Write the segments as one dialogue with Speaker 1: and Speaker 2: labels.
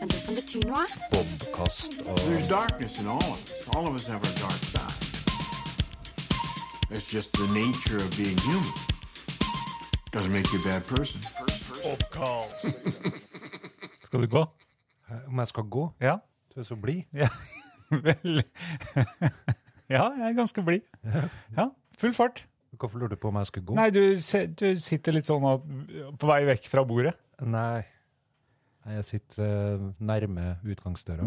Speaker 1: men det som betyr noe.
Speaker 2: Bobkast og
Speaker 3: There's darkness in all of us. All of us have our dark side. It's just the nature of being human. Doesn't make you a bad person.
Speaker 4: Skal du gå?
Speaker 5: Om jeg skal gå?
Speaker 4: Ja.
Speaker 5: Du er så blid.
Speaker 4: ja. Vel Ja, jeg er ganske blid. Ja, full fart.
Speaker 5: Hvorfor lurer du på om jeg skal gå?
Speaker 4: Nei, du, se- du sitter litt sånn at- på vei vekk fra bordet.
Speaker 5: Nei. Nei, jeg sitter eh, nærme utgangsdøra.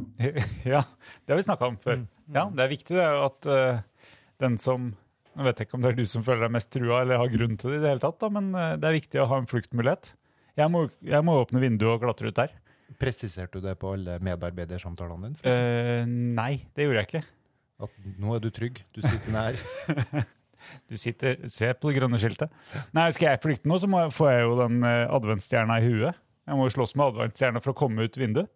Speaker 4: Ja, det har vi snakka om før. Ja, Det er viktig det, at eh, den som Nå vet jeg ikke om det er du som føler deg mest trua eller har grunn til det, i det hele tatt, da, men eh, det er viktig å ha en fluktmulighet. Jeg må, jeg må åpne vinduet og klatre ut der.
Speaker 5: Presiserte du det på alle medarbeidersamtalene dine? forresten?
Speaker 4: Eh, nei, det gjorde jeg ikke.
Speaker 5: At nå er du trygg, du sitter nær.
Speaker 4: Du sitter, Se på det grønne skiltet. Nei, Skal jeg flykte nå, så må jeg, får jeg jo den eh, adventsstjerna i huet. Jeg må jo slåss med adventsstjerna for å komme ut vinduet.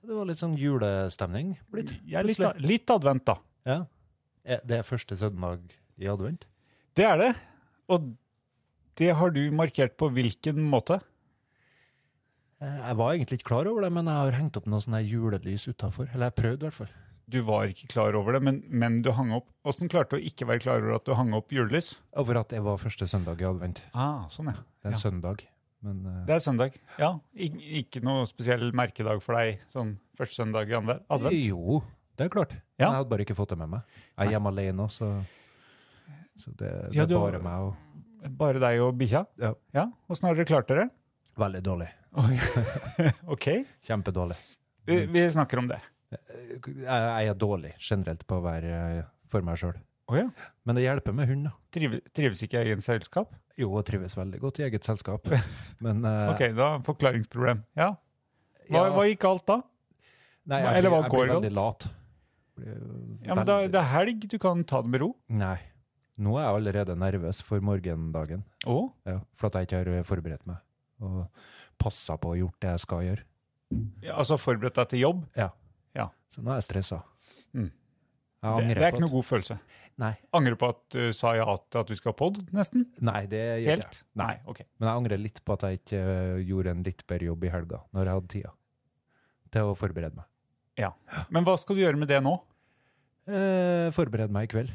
Speaker 5: Det var litt sånn julestemning blitt.
Speaker 4: Jeg er litt,
Speaker 5: plutselig.
Speaker 4: litt advent, da.
Speaker 5: Ja. Eh, Det er første søndag i advent.
Speaker 4: Det er det. Og det har du markert på hvilken måte?
Speaker 5: Eh, Jeg var egentlig ikke klar over det, men jeg har hengt opp noe sånn her julelys utafor. Eller jeg prøvde, i hvert fall.
Speaker 4: Du var ikke klar over det, men, men du hang opp Åssen klarte du å ikke være klar over at du hang opp julelys?
Speaker 5: Over at det var første søndag i advent.
Speaker 4: Ah, sånn, ja.
Speaker 5: Det er
Speaker 4: ja.
Speaker 5: en søndag. Men eh,
Speaker 4: Det er søndag. Ja. Ik ikke noe spesiell merkedag for deg sånn første søndag i anve- advent?
Speaker 5: Jo, det er klart.
Speaker 4: Ja.
Speaker 5: Men Jeg hadde bare ikke fått det med meg. Jeg er hjemme alene også, så, så det, det
Speaker 4: Ja,
Speaker 5: er
Speaker 4: du har-
Speaker 5: bare meg. Og,
Speaker 4: Bare deg og bikkja?
Speaker 5: ja.
Speaker 4: Ja. Åssen har dere klart dere?
Speaker 5: Veldig dårlig.
Speaker 4: Oi. ok,
Speaker 5: Kjempedårlig.
Speaker 4: vi, vi snakker om det.
Speaker 5: Jeg, jeg er dårlig generelt på å være eh, for meg sjøl.
Speaker 4: Å ja.
Speaker 5: Men det hjelper med hund, da.
Speaker 4: Triv, trives ikke jeg i en selskap?
Speaker 5: Jo, jeg trives veldig godt i eget selskap. Men eh,
Speaker 4: Ok, da forklaringsproblem. Ja. Hva,
Speaker 5: Ja.
Speaker 4: hva gikk galt da?
Speaker 5: nei, jeg,
Speaker 4: eller
Speaker 5: blir-
Speaker 4: hva
Speaker 5: jeg
Speaker 4: går
Speaker 5: blir veldig
Speaker 4: galt?
Speaker 5: lat. Blir, eh,
Speaker 4: Ja, men da,
Speaker 5: veldig-
Speaker 4: det er helg, du kan ta det med ro.
Speaker 5: Nei. Nå er jeg allerede nervøs for morgendagen,
Speaker 4: Å?
Speaker 5: ja, for at jeg ikke har eh, forberedt meg og passa på og gjort det jeg skal gjøre.
Speaker 4: Ja, altså forberedt deg til jobb?
Speaker 5: Ja.
Speaker 4: Ja.
Speaker 5: Så nå er jeg stressa.
Speaker 4: Mm.
Speaker 5: Jeg
Speaker 4: Det,
Speaker 5: angrer
Speaker 4: det er ikke
Speaker 5: på
Speaker 4: noe god følelse.
Speaker 5: at Nei,
Speaker 4: Angrer på at du sa ja til at vi skal ha pod, nesten?
Speaker 5: nei det gjør jeg.
Speaker 4: Helt? Nei, ok.
Speaker 5: Men jeg angrer litt på at jeg ikke øh, gjorde en litt bedre jobb i helga, når jeg hadde tida til å forberede meg.
Speaker 4: Ja. Men hva skal du gjøre med det nå?
Speaker 5: Eh, forberede meg i kveld.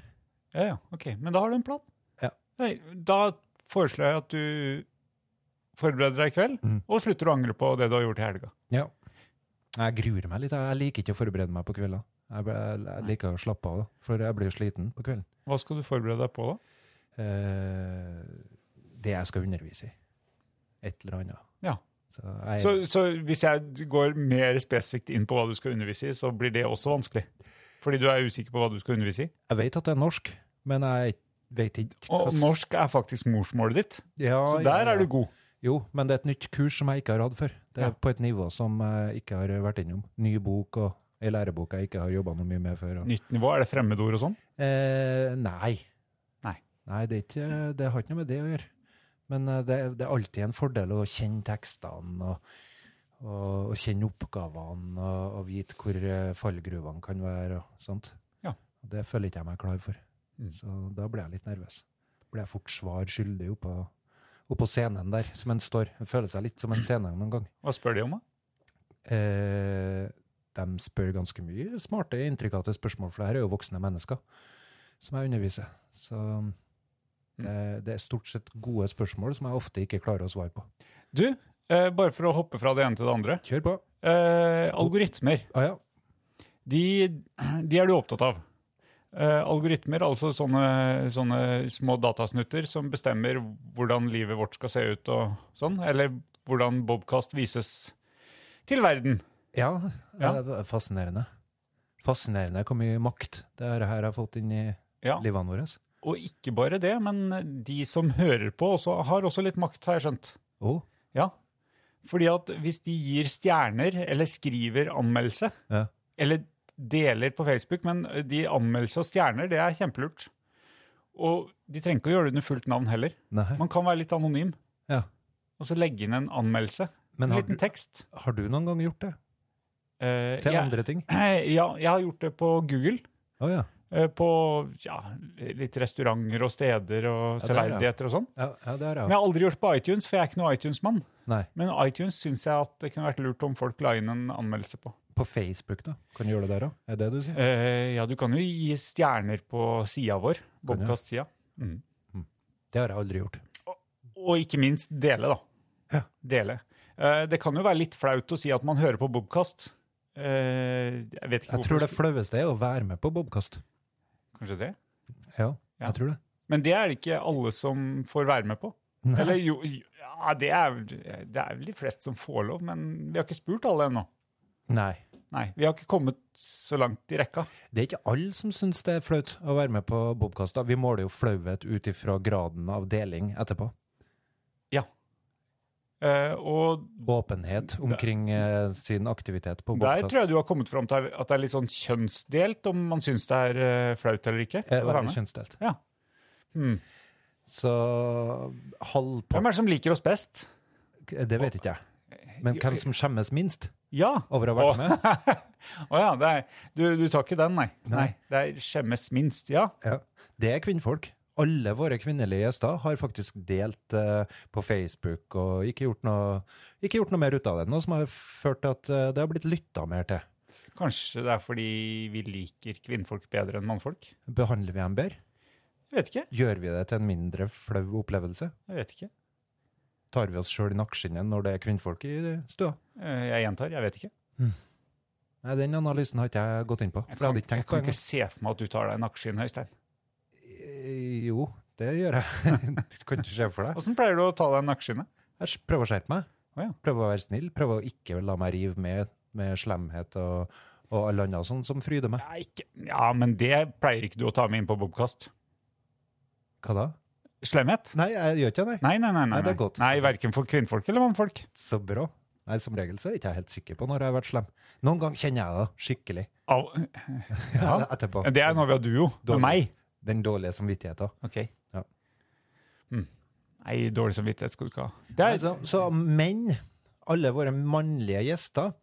Speaker 4: Ja, ja, ok. Men da har du en plan.
Speaker 5: Ja.
Speaker 4: Nei, da foreslår jeg at du forbereder deg i kveld,
Speaker 5: Mm.
Speaker 4: og slutter å angre på det du har gjort i helga.
Speaker 5: Ja. Jeg gruer meg litt. Jeg jeg liker ikke å forberede meg på kvelder. Jeg, ble- jeg liker å slappe av, da, for jeg blir sliten på kvelden.
Speaker 4: Hva skal du forberede deg på da?
Speaker 5: Eh, det jeg skal undervise i. Et eller annet.
Speaker 4: Ja.
Speaker 5: Så jeg,
Speaker 4: Så, så hvis jeg går mer spesifikt inn på hva du skal undervise i, så blir det også vanskelig? Fordi du er usikker på hva du skal undervise i?
Speaker 5: jeg vet at det er norsk, men jeg vet ikke
Speaker 4: Og
Speaker 5: hva-
Speaker 4: norsk er faktisk morsmålet ditt,
Speaker 5: Ja,
Speaker 4: så
Speaker 5: ja,
Speaker 4: der
Speaker 5: ja.
Speaker 4: er du god.
Speaker 5: Jo, men det er et nytt kurs som jeg ikke har hatt før. Det er
Speaker 4: Ja.
Speaker 5: på et nivå som jeg ikke har vært innom. Ny bok og ei lærebok jeg ikke har jobba noe mye med før. Og.
Speaker 4: Nytt nivå, er det fremmedord og sånn?
Speaker 5: Eh, nei.
Speaker 4: Nei.
Speaker 5: Nei, det, er ikke, det har ikke noe med det å gjøre. Men eh, det, det er alltid en fordel å kjenne tekstene og, og, og kjenne oppgavene og, og vite hvor eh, fallgruvene kan være og sånt.
Speaker 4: Ja.
Speaker 5: Og Det føler ikke jeg meg klar for.
Speaker 4: Mm.
Speaker 5: Så da blir jeg litt nervøs. Blir jeg fort svar skyldig oppå, oppå scenen der, som en står. Jeg føler seg litt som en scene noen gang.
Speaker 4: Hva spør de om, da?
Speaker 5: Eh, de spør ganske mye smarte, intrikate spørsmål, for det her er jo voksne mennesker som jeg underviser. Så
Speaker 4: Mm.
Speaker 5: det, det er stort sett gode spørsmål som jeg ofte ikke klarer å svare på.
Speaker 4: Du, eh, bare for å hoppe fra det ene til det andre.
Speaker 5: Kjør på.
Speaker 4: Eh, algoritmer,
Speaker 5: Ah, ja.
Speaker 4: de, de er du opptatt av. Eh, algoritmer, altså sånne, sånne små datasnutter som bestemmer hvordan livet vårt skal se ut og sånn, eller hvordan Bobcast vises til verden.
Speaker 5: ja,
Speaker 4: Ja.
Speaker 5: det er fascinerende. Fascinerende hvor mye makt det her jeg har fått inn i
Speaker 4: Ja,
Speaker 5: livene våre.
Speaker 4: og ikke bare det, men de som hører på også, har også litt makt, har jeg skjønt.
Speaker 5: Å,
Speaker 4: Ja, fordi at hvis de gir stjerner eller skriver anmeldelse,
Speaker 5: ja.
Speaker 4: eller deler på Facebook, men de anmeldelse og stjerner, det er kjempelurt. Og de trenger ikke å gjøre det under fullt navn heller.
Speaker 5: Nei.
Speaker 4: Man kan være litt anonym,
Speaker 5: Ja.
Speaker 4: og så legge inn en anmeldelse.
Speaker 5: Men
Speaker 4: en
Speaker 5: har
Speaker 4: liten
Speaker 5: du-
Speaker 4: tekst.
Speaker 5: Har du noen gang gjort det?
Speaker 4: Eh,
Speaker 5: Til
Speaker 4: jeg,
Speaker 5: andre ting?
Speaker 4: ja, jeg har gjort det på Google.
Speaker 5: Å ja.
Speaker 4: eh, på ja, litt restauranter og steder og
Speaker 5: Ja, det er det.
Speaker 4: severdigheter og sånn.
Speaker 5: Ja, ja det
Speaker 4: Men
Speaker 5: har jeg.
Speaker 4: jeg har aldri gjort på iTunes, for jeg er ikke noe iTunes-mann.
Speaker 5: Nei.
Speaker 4: Men iTunes syns jeg at det kunne vært lurt om folk la inn en anmeldelse på.
Speaker 5: På Facebook, da? Kan du gjøre det der òg? Er det det du sier?
Speaker 4: Eh, ja, du kan jo gi stjerner på sida vår.
Speaker 5: Kan jeg?
Speaker 4: Bobcast-sida. Mm.
Speaker 5: Det har jeg aldri gjort.
Speaker 4: Og ikke minst dele, da.
Speaker 5: Ja.
Speaker 4: Dele. Eh, det kan jo være litt flaut å si at man hører på Bobcast. Eh, jeg vet ikke
Speaker 5: Jeg tror det
Speaker 4: hvorfor-
Speaker 5: flaueste er å være med på Bobkast.
Speaker 4: Kanskje det?
Speaker 5: Ja,
Speaker 4: Ja.
Speaker 5: jeg tror det.
Speaker 4: Men det er det ikke alle som får være med på.
Speaker 5: Nei.
Speaker 4: Eller jo, ja, det er, det er vel de fleste som får lov, men vi har ikke spurt alle ennå.
Speaker 5: Nei.
Speaker 4: Nei, vi har ikke kommet så langt i rekka.
Speaker 5: Det er ikke alle som syns det er flaut å være med på Bobkast. da. Vi måler jo flauhet ut ifra graden av deling etterpå.
Speaker 4: Eh, og
Speaker 5: Åpenhet omkring eh, sin aktivitet på
Speaker 4: Der
Speaker 5: Bobkast.
Speaker 4: tror jeg du har kommet fram til at det er litt sånn kjønnsdelt om man syns det er eh, flaut eller ikke.
Speaker 5: Eh,
Speaker 4: å være
Speaker 5: Veldig
Speaker 4: med.
Speaker 5: kjønnsdelt. Hmm.
Speaker 4: Mm.
Speaker 5: Så halvparten
Speaker 4: Hvem er det som liker oss best?
Speaker 5: Det vet ikke jeg. Men hvem som skjemmes minst
Speaker 4: Ja!
Speaker 5: over å ha vært med?
Speaker 4: Å ja, det er, du, du tar ikke den, nei. nei.
Speaker 5: Nei.
Speaker 4: Det er skjemmes minst, ja.
Speaker 5: Ja. Det er kvinnfolk. Alle våre kvinnelige gjester har faktisk delt eh, på Facebook og ikke gjort, noe, ikke gjort noe mer ut av det. Noe som har ført til at eh, det har blitt lytta mer til.
Speaker 4: Kanskje det er fordi vi liker kvinnfolk bedre enn mannfolk?
Speaker 5: Behandler vi dem bedre?
Speaker 4: Jeg vet ikke.
Speaker 5: Gjør vi det til en mindre flau opplevelse?
Speaker 4: Jeg vet ikke.
Speaker 5: Tar vi oss sjøl i nakkeskinnet når det er kvinnfolk i stua?
Speaker 4: Eh, Jeg gjentar, jeg vet ikke.
Speaker 5: Nei, Den analysen har ikke jeg gått inn på.
Speaker 4: Jeg
Speaker 5: For jeg
Speaker 4: kan,
Speaker 5: hadde ikke
Speaker 4: jeg
Speaker 5: tenkt på
Speaker 4: kan
Speaker 5: det.
Speaker 4: ikke se for meg at du tar deg en nakkeskinn, Øystein.
Speaker 5: Eh, Jo, det gjør jeg. Det kan ikke skje for deg.
Speaker 4: Åssen pleier du å ta deg en nakkeskinne?
Speaker 5: Jeg s- prøver å skjerpe meg.
Speaker 4: Å ja.
Speaker 5: Prøver å være snill. Prøver å ikke la meg rive med med slemhet og, og alle andre sånn som fryder meg.
Speaker 4: Nei, ikke Ja, men det pleier ikke du å ta med inn på Bobkast.
Speaker 5: Hva da?
Speaker 4: Slemhet?
Speaker 5: Nei, jeg gjør ikke det, nei.
Speaker 4: Nei, nei, nei. nei,
Speaker 5: Nei, det er
Speaker 4: nei.
Speaker 5: godt.
Speaker 4: nei verken for kvinnfolk eller mannfolk.
Speaker 5: Så bra. Nei, Som regel så er jeg ikke helt sikker på når jeg har vært slem. Noen ganger kjenner jeg det skikkelig.
Speaker 4: Au. Ja.
Speaker 5: Etterpå.
Speaker 4: Det er når vi har duo.
Speaker 5: Dårlig.
Speaker 4: Med meg.
Speaker 5: Den dårlige samvittigheten.
Speaker 4: Ok.
Speaker 5: Ja.
Speaker 4: Mm. Nei, dårlig samvittighet skal du ikke ha. Det
Speaker 5: Nei,
Speaker 4: er,
Speaker 5: så, så menn, alle våre mannlige gjester,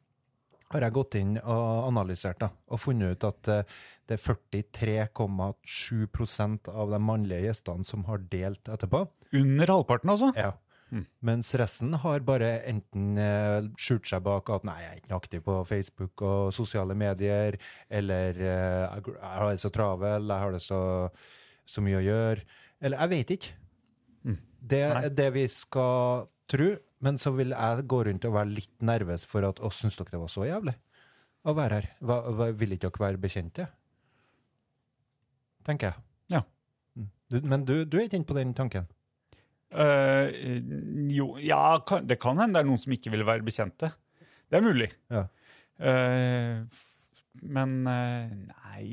Speaker 5: har jeg gått inn og analysert da, og funnet ut at eh, det er 43,7 av de mannlige gjestene som har delt etterpå.
Speaker 4: under halvparten, altså.
Speaker 5: Ja.
Speaker 4: Mm.
Speaker 5: Mens resten har bare enten eh, skjult seg bak at nei, jeg er ikke noe aktiv på Facebook og sosiale medier, eller eh, jeg gr- jeg har det så travel, jeg har det så, så mye å gjøre, eller jeg vet ikke.
Speaker 4: Mm.
Speaker 5: Det
Speaker 4: Nei.
Speaker 5: er det vi skal tro, men så vil jeg gå rundt og være litt nervøs for at å, syns dere det var så jævlig å være her? Hva, hva, vil ikke dere være bekjente? Tenker jeg.
Speaker 4: Ja.
Speaker 5: Mm. Du, men du, du er ikke inne på den tanken?
Speaker 4: Eh, jo, ja, kan, det kan hende det er noen som ikke vil være bekjente. Det er mulig.
Speaker 5: Ja.
Speaker 4: Eh, f- men eh, nei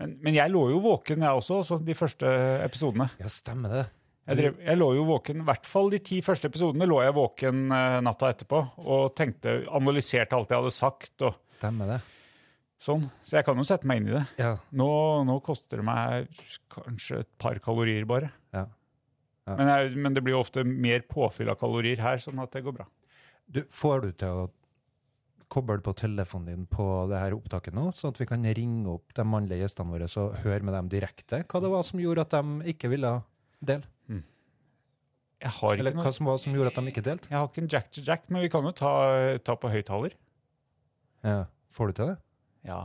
Speaker 4: men, men jeg lå jo våken, jeg også, så de første episodene.
Speaker 5: Ja, stemmer det.
Speaker 4: Jeg, drev, jeg lå jo våken, I hvert fall de ti første episodene lå jeg våken eh, natta etterpå og tenkte, analyserte alt jeg hadde sagt og
Speaker 5: Stemmer det.
Speaker 4: sånn. Så jeg kan jo sette meg inn i det.
Speaker 5: Ja.
Speaker 4: Nå, nå koster det meg kanskje et par kalorier bare.
Speaker 5: Ja. Ja.
Speaker 4: Men, jeg, men det blir jo ofte mer påfyll av kalorier her, sånn at det går bra.
Speaker 5: Du, får du til å koble på telefonen din på det her opptaket nå, sånn at vi kan ringe opp de mannlige gjestene våre og høre med dem direkte hva det var som gjorde at de ikke ville dele?
Speaker 4: Jeg har ikke,
Speaker 5: Eller hva
Speaker 4: noe,
Speaker 5: som var som gjorde at de ikke delte?
Speaker 4: jeg har ikke en Jack to Jack, men vi kan jo ta, ta på høyttaler.
Speaker 5: Ja. Får du til det?
Speaker 4: Ja.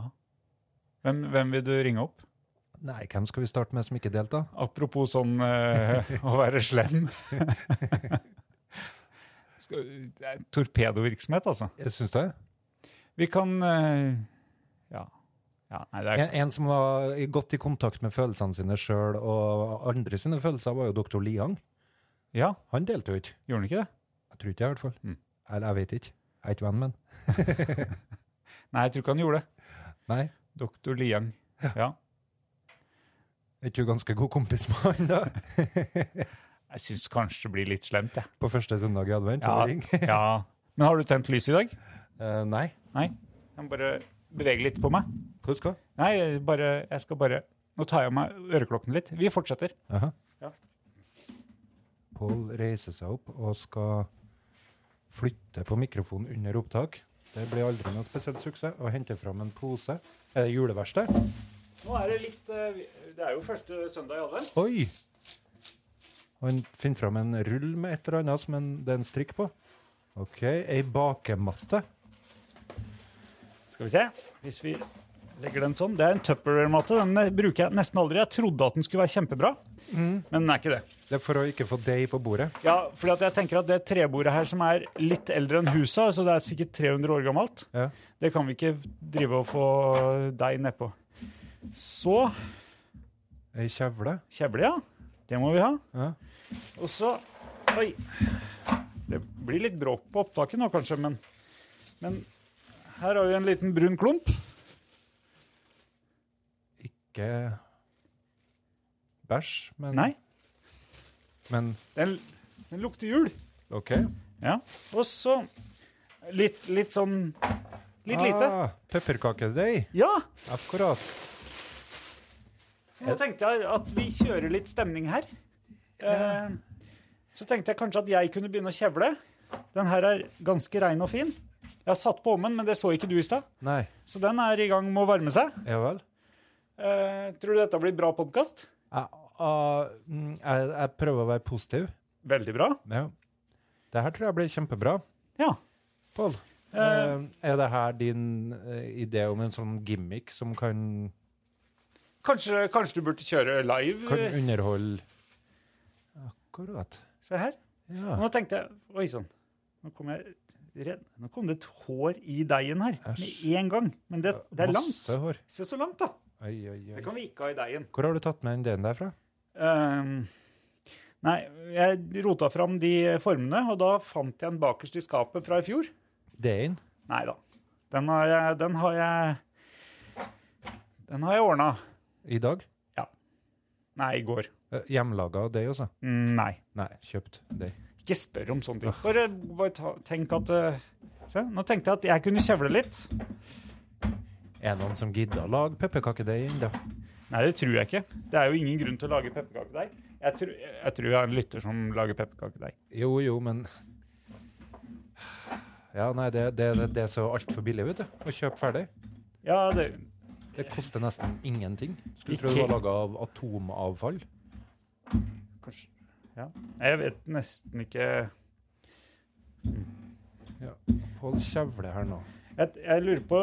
Speaker 4: Hvem, hvem vil du ringe opp?
Speaker 5: Nei, hvem skal vi starte med som ikke delte, da?
Speaker 4: Apropos sånn eh, å være slem. Skal, det er torpedovirksomhet, altså.
Speaker 5: Syns du det?
Speaker 4: Vi kan eh, ja. ja. Nei, det er
Speaker 5: En, en som var i- godt i kontakt med følelsene sine sjøl og andre sine følelser, var jo doktor Liang.
Speaker 4: Ja,
Speaker 5: Han delte jo ikke.
Speaker 4: gjorde den ikke det?
Speaker 5: Jeg tror ikke, i hvert fall.
Speaker 4: Mm.
Speaker 5: Eller jeg vet ikke. Jeg er ikke venn med han.
Speaker 4: Nei, jeg tror ikke han gjorde det.
Speaker 5: Nei.
Speaker 4: Doktor Liang. ja.
Speaker 5: Er ikke du ganske god kompis med han, da?
Speaker 4: Jeg syns kanskje det blir litt slemt, jeg.
Speaker 5: På første søndag i advent? så ring.
Speaker 4: ja. Men har du tent lys i dag?
Speaker 5: Eh, nei.
Speaker 4: Nei. Jeg må bare bevege litt på meg.
Speaker 5: Hva skal du?
Speaker 4: Nei, jeg bare, jeg skal bare Nå tar jeg av meg øreklokken litt. Vi fortsetter.
Speaker 5: Aha.
Speaker 4: Ja.
Speaker 5: Pål reiser seg opp og skal flytte på mikrofonen under opptak. Det blir aldri noen spesiell suksess. Og henter fram en pose. Er det eh, juleverksted?
Speaker 4: Nå er det litt eh, vi- Det er jo første søndag i advent.
Speaker 5: Oi! Og han finner fram en rull med et eller annet som en, det er en strikk på. OK, ei bakematte.
Speaker 4: Skal vi se. Hvis vi legger den sånn. Det er en Tupperware-matte. Den eh, bruker jeg nesten aldri. Jeg trodde at den skulle være kjempebra, men den er ikke det.
Speaker 5: Det er for å ikke få deig på bordet.
Speaker 4: Ja, fordi at jeg tenker at det trebordet her som er litt eldre enn huset, så det er sikkert 300 år gammelt,
Speaker 5: Ja.
Speaker 4: det kan vi ikke drive og få deg nedpå. Så
Speaker 5: Ei kjevle.
Speaker 4: kjevle, ja. Det må vi ha.
Speaker 5: Ja.
Speaker 4: Og så Oi. Det blir litt bråk på opptaket nå, kanskje, men, men her har vi en liten brun klump.
Speaker 5: Ikke bæsj, men,
Speaker 4: Nei,
Speaker 5: men
Speaker 4: den, den lukter jul.
Speaker 5: OK.
Speaker 4: Ja. Og så litt, litt sånn Litt lite.
Speaker 5: Ah, Pepperkakedeig.
Speaker 4: Ja!
Speaker 5: Akkurat.
Speaker 4: Så nå tenkte jeg at vi kjører litt stemning her. Eh, så tenkte jeg kanskje at jeg kunne begynne å kjevle. Den her er ganske rein og fin. Jeg har satt på ommen, men det så ikke du i stad.
Speaker 5: Nei.
Speaker 4: Så den er i gang med å varme seg.
Speaker 5: Ja vel.
Speaker 4: Eh, tror du dette blir bra podkast?
Speaker 5: Jeg, ah, mm, jeg, jeg prøver å være positiv.
Speaker 4: Veldig bra.
Speaker 5: Ja. Det her tror jeg blir kjempebra,
Speaker 4: Ja.
Speaker 5: Pål. Eh, er det her din eh, idé om en sånn gimmick som kan,
Speaker 4: Kanskje, kanskje du burde kjøre live?
Speaker 5: kan underholde Akkurat.
Speaker 4: Se her.
Speaker 5: Ja.
Speaker 4: Nå tenkte jeg Oi sann. Nå kom jeg redd. Nå kom det et hår i deigen her med
Speaker 5: Æsj.
Speaker 4: en gang. Men det, det er langt.
Speaker 5: Masse hår.
Speaker 4: Se så langt, da.
Speaker 5: Oi, oi,
Speaker 4: Det
Speaker 5: oi.
Speaker 4: kan vi ikke ha i deigen.
Speaker 5: Hvor har du tatt med den delen der fra?
Speaker 4: Ehm, nei, jeg rota fram de formene, og da fant jeg en bakerst i skapet fra i fjor.
Speaker 5: Delen?
Speaker 4: Nei da. Den har jeg Den har jeg, den har jeg ordna.
Speaker 5: I dag?
Speaker 4: Nei, i går.
Speaker 5: Eh, Hjemmelaga og deig, altså?
Speaker 4: Mm, Nei.
Speaker 5: Nei, kjøpt deig.
Speaker 4: Ikke spør om sånne ting. Bare, bare ta, tenk at eh, Se, nå tenkte jeg at jeg kunne kjevle litt.
Speaker 5: Er det noen som gidder å lage pepperkakedeig ennå?
Speaker 4: Nei, det tror jeg ikke. Det er jo ingen grunn til å lage pepperkakedeig. Jeg, tror- jeg tror jeg er en lytter som lager pepperkakedeig.
Speaker 5: Jo, jo, men Ja, nei, det, det, det, det er så altfor billig, vet du. Å kjøpe ferdig.
Speaker 4: Ja, det
Speaker 5: Det koster nesten ingenting. Skulle tro det
Speaker 4: Ikke-
Speaker 5: var laga av atomavfall.
Speaker 4: Kanskje Ja. Jeg vet nesten ikke
Speaker 5: Hold kjevle her nå.
Speaker 4: Jeg, jeg lurer på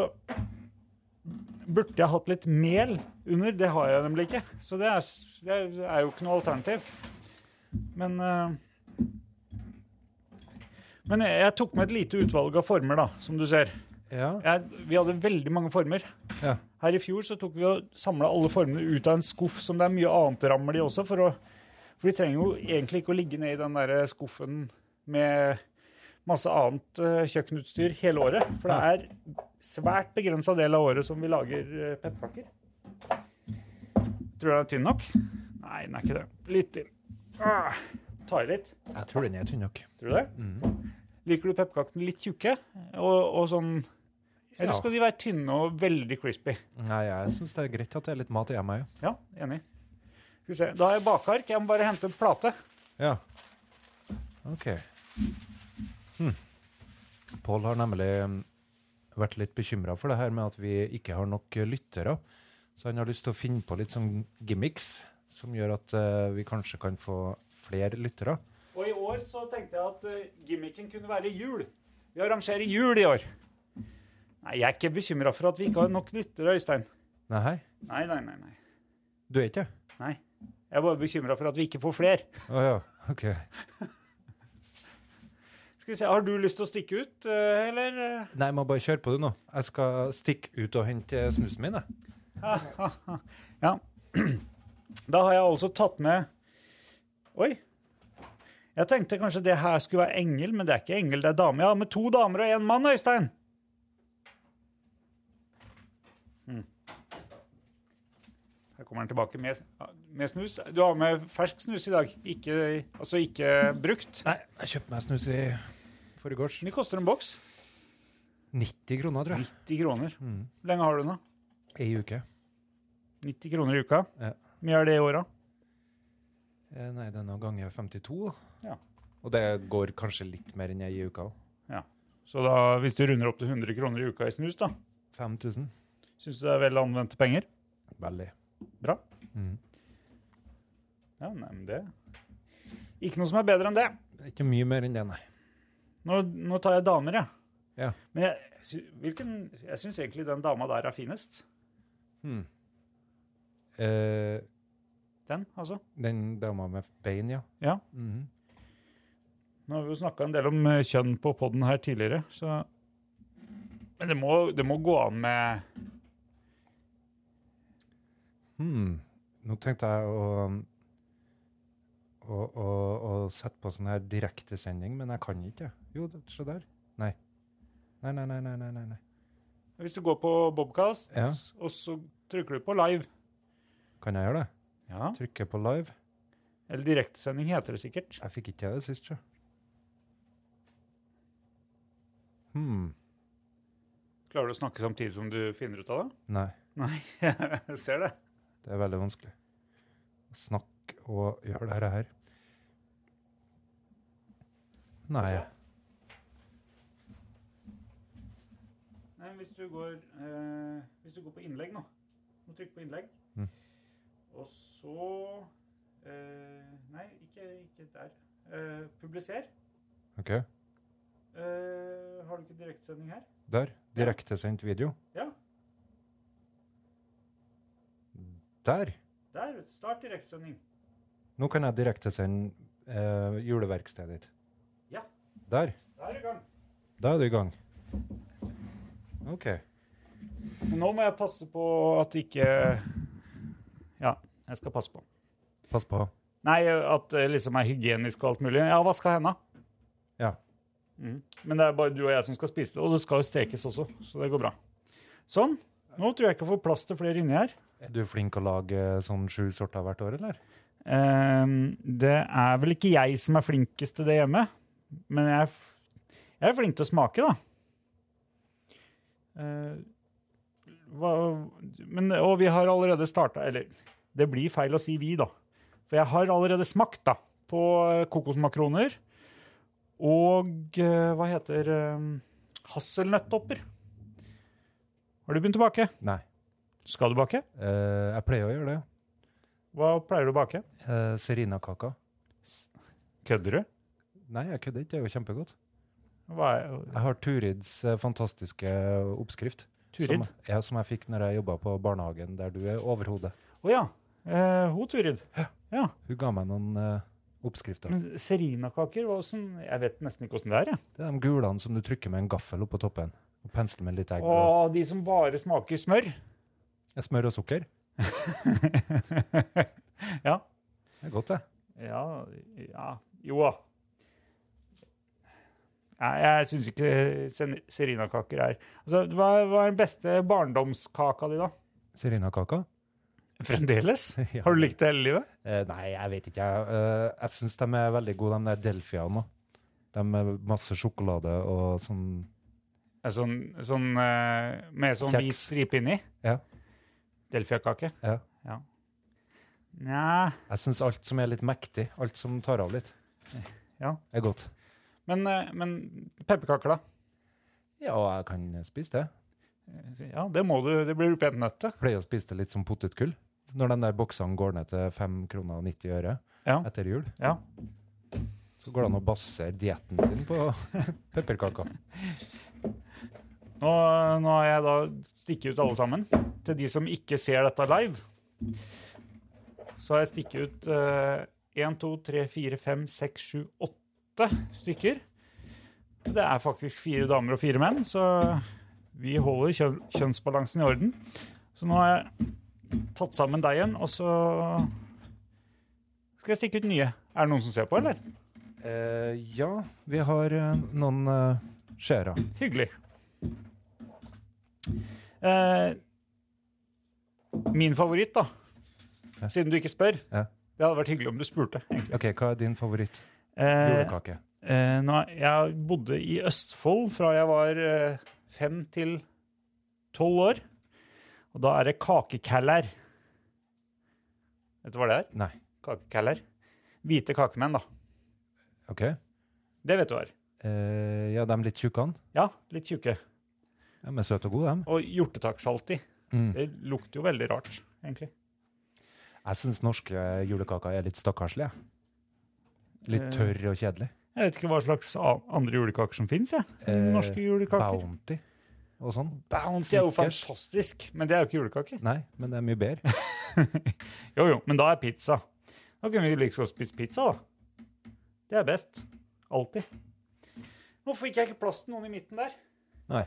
Speaker 4: Burde jeg hatt litt mel under? Det har jeg nemlig ikke. Så det er, s- det er- det er jo ikke noe alternativ. Men eh, Men jeg, jeg tok med et lite utvalg av former, da, som du ser.
Speaker 5: Ja.
Speaker 4: Jeg, vi hadde veldig mange former.
Speaker 5: Ja.
Speaker 4: Her i fjor så tok vi og samla alle formene ut av en skuff som det er mye annet rammel i også, for, å, for de trenger jo egentlig ikke å ligge ned i den der skuffen med masse annet eh, kjøkkenutstyr hele året. For det er svært begrensa del av året som vi lager uh, pepperkaker. Tror du den er tynn nok? Nei, den er ikke det. Litt tynn. Ah, Ta i litt.
Speaker 5: Jeg tror den er tynn nok.
Speaker 4: Tror du det? Liker du pepperkakene litt tjukke? Og, og sånn Eller
Speaker 5: Ja.
Speaker 4: skal de være tynne og veldig crispy?
Speaker 5: Nei, jeg syns det er greit at det er litt mat hjemme òg.
Speaker 4: Ja, enig. Skal vi se. Da har jeg bakeark. Jeg må bare hente en plate.
Speaker 5: Ja. OK. Hm. Pål har nemlig mm, vært litt bekymra for det her med at vi ikke har nok eh, lyttere. Så han har lyst til å finne på litt sånn gimmicks som gjør at eh, vi kanskje kan få flere lyttere.
Speaker 4: Og i år så tenkte jeg at eh, gimmicken kunne være jul. Vi arrangerer jul i år. Nei, jeg er ikke bekymra for at vi ikke har nok lyttere, Øystein.
Speaker 5: Nei, hei.
Speaker 4: Nei, nei, nei. nei.
Speaker 5: Du er ikke det?
Speaker 4: nei. Jeg er bare bekymra for at vi ikke får flere.
Speaker 5: Å ja. OK.
Speaker 4: Skal vi se, Har du lyst til å stikke ut, eh, eller? eh?
Speaker 5: Nei, jeg må bare kjøre på det nå. Jeg skal stikke ut og hente snusen min. jeg.
Speaker 4: Ja. Da har jeg altså tatt med Oi. Jeg tenkte kanskje det her skulle være engel, men det er ikke engel, det er dame. Jeg har med to damer og én mann, Øystein. Mm. Her kommer han tilbake med, med snus. Du har med fersk snus i dag, ikke, altså ikke brukt.
Speaker 5: Nei, jeg kjøpte meg snus i forgårs.
Speaker 4: Hvor mye koster en boks?
Speaker 5: 90 kroner, tror jeg.
Speaker 4: 90 kroner.
Speaker 5: Hmm.
Speaker 4: Hvor lenge har du den, da?
Speaker 5: Ei uke.
Speaker 4: 90 kroner i uka?
Speaker 5: Ja.
Speaker 4: Hvor mye er det i åra?
Speaker 5: Eh, Nei, det er nå ganger 52. da.
Speaker 4: Ja.
Speaker 5: Og det går kanskje litt mer enn ei uke òg.
Speaker 4: Så da, hvis du runder opp til 100 kroner i uka i snus, da,
Speaker 5: 5000.
Speaker 4: syns du det er vel anvendte penger? Veldig bra.
Speaker 5: Mm.
Speaker 4: Ja, nei, men det Ikke noe som er bedre enn det.
Speaker 5: Det er Ikke mye mer enn det, nei.
Speaker 4: Nå, nå tar jeg damer, jeg.
Speaker 5: Ja.
Speaker 4: Men jeg, sy- hvilken, jeg syns egentlig den dama der er finest.
Speaker 5: Hmm. Eh,
Speaker 4: Den, altså.
Speaker 5: den dama med bein, ja.
Speaker 4: Ja.
Speaker 5: Mhm.
Speaker 4: Nå har vi jo snakka en del om eh, kjønn på poden her tidligere, så Men det må, det må gå an med
Speaker 5: Hmm. Nå tenkte jeg å, å, å, å sette på sånn her direktesending, men jeg kan ikke. Jo, det- se der. Nei. Nei, nei, nei, nei, nei, nei. nei.
Speaker 4: Hvis du går på Bobcast,
Speaker 5: Ja.
Speaker 4: og så trykker du på live.
Speaker 5: Kan jeg gjøre det?
Speaker 4: Ja.
Speaker 5: Trykke på live.
Speaker 4: Eller direktesending heter det sikkert.
Speaker 5: Jeg fikk ikke til det sist, sjø. Hmm.
Speaker 4: Klarer du å snakke samtidig som du finner ut av det?
Speaker 5: Nei,
Speaker 4: Nei, jeg ser det.
Speaker 5: det er veldig vanskelig. Snakk og gjør det her. Nei.
Speaker 4: Nei, men hvis du går, eh, hvis du går på innlegg nå, må du trykke på innlegg,
Speaker 5: Mm.
Speaker 4: og så, eh, nei, ikke, ikke der, eh, publiser,
Speaker 5: OK.
Speaker 4: eh, har du ikke direktsending her?
Speaker 5: Der. Direktesendt video.
Speaker 4: Ja,
Speaker 5: Der!
Speaker 4: der, start direktsending.
Speaker 5: Nå kan jeg direktesende eh, juleverkstedet ditt.
Speaker 4: Ja.
Speaker 5: Der.
Speaker 4: Da er det i gang.
Speaker 5: Da er du i gang. OK.
Speaker 4: Men nå må jeg passe på at ikke, ja, jeg skal passe på.
Speaker 5: Pass på.
Speaker 4: Nei, at det liksom er hygienisk og alt mulig. Jeg har vaska henda.
Speaker 5: Ja.
Speaker 4: Mm. Men det er bare du og jeg som skal spise det, og det skal jo stekes også, så det går bra. Sånn. Nå tror jeg ikke jeg får plass til flere inni her.
Speaker 5: Er du flink å lage sånn sju sorter hvert år, eller?
Speaker 4: Ehm, det er vel ikke jeg som er flinkest til det hjemme, men jeg er, f jeg er flink til å smake, da. Eh, hva, men, og vi har allerede starta Eller det blir feil å si vi, da. For jeg har allerede smakt da, på eh, kokosmakroner og eh, hva heter eh, hasselnøttopper. Har du begynt å bake?
Speaker 5: Nei.
Speaker 4: Skal du bake?
Speaker 5: Eh, jeg pleier å gjøre det.
Speaker 4: Hva pleier du å bake?
Speaker 5: Eh, Serinakaka.
Speaker 4: Kødder du?
Speaker 5: Nei, jeg kødder ikke. Det er jo kjempegodt.
Speaker 4: Hva er,
Speaker 5: Jeg har Turids eh, fantastiske oppskrift.
Speaker 4: Turid?
Speaker 5: Som, ja, som jeg fikk når jeg jobba på barnehagen der du er overhodet.
Speaker 4: Å ja. Eh, ho, Turid.
Speaker 5: Hun ga meg noen eh, oppskrifter.
Speaker 4: Men serinakaker, hva åssen- Jeg vet nesten ikke åssen det er. jeg.
Speaker 5: Det er de gulene som du trykker med en gaffel oppå toppen. Og pensler med litt egg og
Speaker 4: Å, de som bare smaker smør.
Speaker 5: smør og sukker.
Speaker 4: ja.
Speaker 5: Det er godt, det.
Speaker 4: ja. Ja. Jo da. Nei, jeg syns ikke sen- serinakaker er Altså, Hva hva er den beste barndomskaka di, da?
Speaker 5: Serinakaka?
Speaker 4: Fremdeles?
Speaker 5: Ja.
Speaker 4: Har du likt det hele livet?
Speaker 5: Eh, nei, jeg vet ikke. Jeg, eh, jeg syns de er veldig gode, de der delfiaene. De med masse sjokolade og sånn
Speaker 4: Eh, Sånn, sånn eh, Med sånn
Speaker 5: Kjeks.
Speaker 4: hvit stripe inni?
Speaker 5: Ja.
Speaker 4: Delfiakake?
Speaker 5: Ja.
Speaker 4: ja. Nja
Speaker 5: Jeg syns alt som er litt mektig, alt som tar av litt,
Speaker 4: Ja.
Speaker 5: er godt.
Speaker 4: Men, eh, men pepperkaker, da?
Speaker 5: Ja, jeg kan spise det.
Speaker 4: Ja, det må du. Det blir du pent nødt til.
Speaker 5: pleier å spise det litt som potetgull. Når den der boksene går ned til 5 kroner og 90 øre
Speaker 4: Ja.
Speaker 5: etter jul,
Speaker 4: Ja.
Speaker 5: så går det an å basere dietten sin på pepperkaker.
Speaker 4: Nå, nå har jeg da stikket ut alle sammen. Til de som ikke ser dette live, så har jeg stikket ut eh, 1, 2, 3, 4, 5, 6, 7, 8 stykker. Det er faktisk fire damer og fire menn, så vi holder kjø- kjønnsbalansen i orden. Så nå har jeg tatt sammen deigen, og så skal jeg stikke ut nye. Er det noen som ser på, eller?
Speaker 5: Eh, ja, vi har eh, noen eh, skjæra.
Speaker 4: Hyggelig. Eh, min favoritt, da.
Speaker 5: Ja.
Speaker 4: Siden du ikke spør.
Speaker 5: Ja.
Speaker 4: Det hadde vært hyggelig om du spurte. egentlig.
Speaker 5: OK, hva er din favoritt?
Speaker 4: Eh,
Speaker 5: Julekake.
Speaker 4: eh, nå, jeg bodde i Østfold fra jeg var eh, fem til tolv år. Og da er det kakekæller. Vet du hva det er?
Speaker 5: Nei.
Speaker 4: Kakekæller. Hvite kakemenn, da.
Speaker 5: OK.
Speaker 4: Det vet du hva er.
Speaker 5: Eh, ja, de litt tjukkene.
Speaker 4: Ja, litt tjukke.
Speaker 5: De er søte og gode, dem.
Speaker 4: Og hjortetaksalt i.
Speaker 5: Mm.
Speaker 4: Det lukter jo veldig rart, egentlig.
Speaker 5: Jeg syns norske julekaker er litt stakkarslige. jeg. Litt
Speaker 4: Eh,
Speaker 5: tørr og kjedelig.
Speaker 4: Jeg vet ikke hva slags a- andre julekaker som fins, jeg.
Speaker 5: Eh,
Speaker 4: Norske julekaker.
Speaker 5: Bounty og sånn.
Speaker 4: Bounty er jo
Speaker 5: Snickers.
Speaker 4: fantastisk, men det er jo ikke julekake.
Speaker 5: Nei, men det er mye bedre.
Speaker 4: Jo, jo, men da er pizza. Da kunne vi like liksom spise pizza, da. Det er best. Alltid. Hvorfor fikk jeg ikke plass til noen i midten der?
Speaker 5: Nei.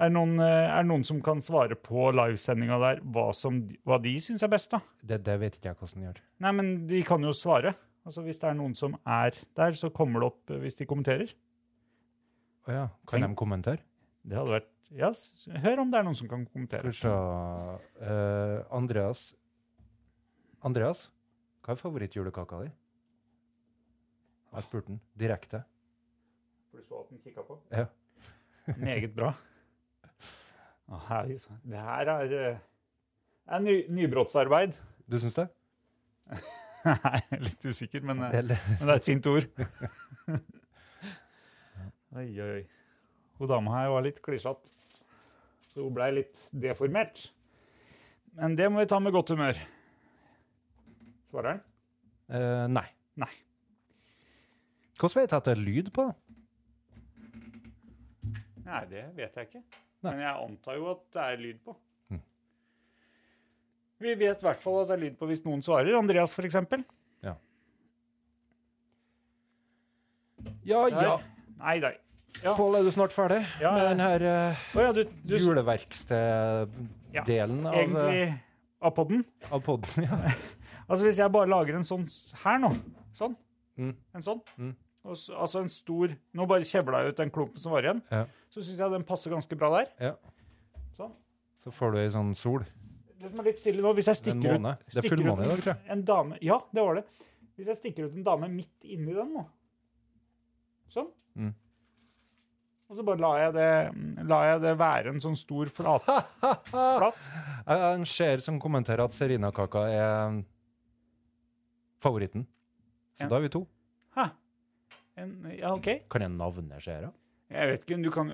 Speaker 4: Er det noen, eh, er det noen som kan svare på livesendinga der hva, som, hva de syns er best, da?
Speaker 5: Det, det vet ikke jeg hvordan gjør.
Speaker 4: Nei, men de kan jo svare. Altså, Hvis det er noen som er der, så kommer det opp eh, hvis de kommenterer.
Speaker 5: Å ja. Kan de kommentere?
Speaker 4: Det hadde vært Ja, s- hør om det er noen som kan kommentere.
Speaker 5: Skal vi se Eh, Andreas Andreas, hva er favorittjulekaka di? Jeg spurte han direkte.
Speaker 4: For du så at den kikket på?
Speaker 5: Ja.
Speaker 4: Meget bra. Å, her, det her er, eh, det er ny, nybrottsarbeid.
Speaker 5: Du syns det?
Speaker 4: Nei, jeg er litt usikker, men, eh,
Speaker 5: Eller,
Speaker 4: men det er et fint ord. oi, oi, oi. Hun dama her var litt klissete, så hun blei litt deformert. Men det må vi ta med godt humør. Svarer han?
Speaker 5: eh, nei.
Speaker 4: Nei.
Speaker 5: Hvordan vet jeg at det er lyd på? det?
Speaker 4: Nei, det vet jeg ikke.
Speaker 5: Nei.
Speaker 4: Men jeg antar jo at det er lyd på.
Speaker 5: Mm.
Speaker 4: Vi vet i hvert fall at det er lyd på hvis noen svarer. Andreas, for eksempel.
Speaker 5: Ja, ja.
Speaker 4: Der. Nei, nei. Ja.
Speaker 5: Pål, er du snart ferdig
Speaker 4: Ja,
Speaker 5: med
Speaker 4: ja.
Speaker 5: den her eh,
Speaker 4: Å ja, du, du Ja,
Speaker 5: juleverksteddelen av,
Speaker 4: Egentlig
Speaker 5: eh,
Speaker 4: av podden.
Speaker 5: av podden? Ja.
Speaker 4: Altså, hvis jeg bare lager en sånn s- her nå, sånn,
Speaker 5: Mm.
Speaker 4: en sånn,
Speaker 5: Mm.
Speaker 4: og s- altså en stor Nå bare kjevla jeg ut den klumpen som var igjen.
Speaker 5: Ja.
Speaker 4: Så syns jeg den passer ganske bra der.
Speaker 5: Ja.
Speaker 4: Sånn.
Speaker 5: Så får du ei sånn sol.
Speaker 4: Det som er litt stille nå, hvis jeg
Speaker 5: Det er en
Speaker 4: stikker ut
Speaker 5: måned. Det er
Speaker 4: stikker
Speaker 5: fullmåne i
Speaker 4: ut
Speaker 5: dag, tror jeg.
Speaker 4: en dame Ja, det var det. Hvis jeg stikker ut en dame midt inni den nå Sånn.
Speaker 5: Mm.
Speaker 4: Og så bare lar jeg, det, lar jeg det være en sånn stor flat, flat.
Speaker 5: Jeg har en ser som kommenterer at serinakaka er favoritten. Så
Speaker 4: Ja.
Speaker 5: da er vi to.
Speaker 4: Hæ. En, ja, OK.
Speaker 5: Kan jeg navne seere?
Speaker 4: Jeg vet ikke, du kan,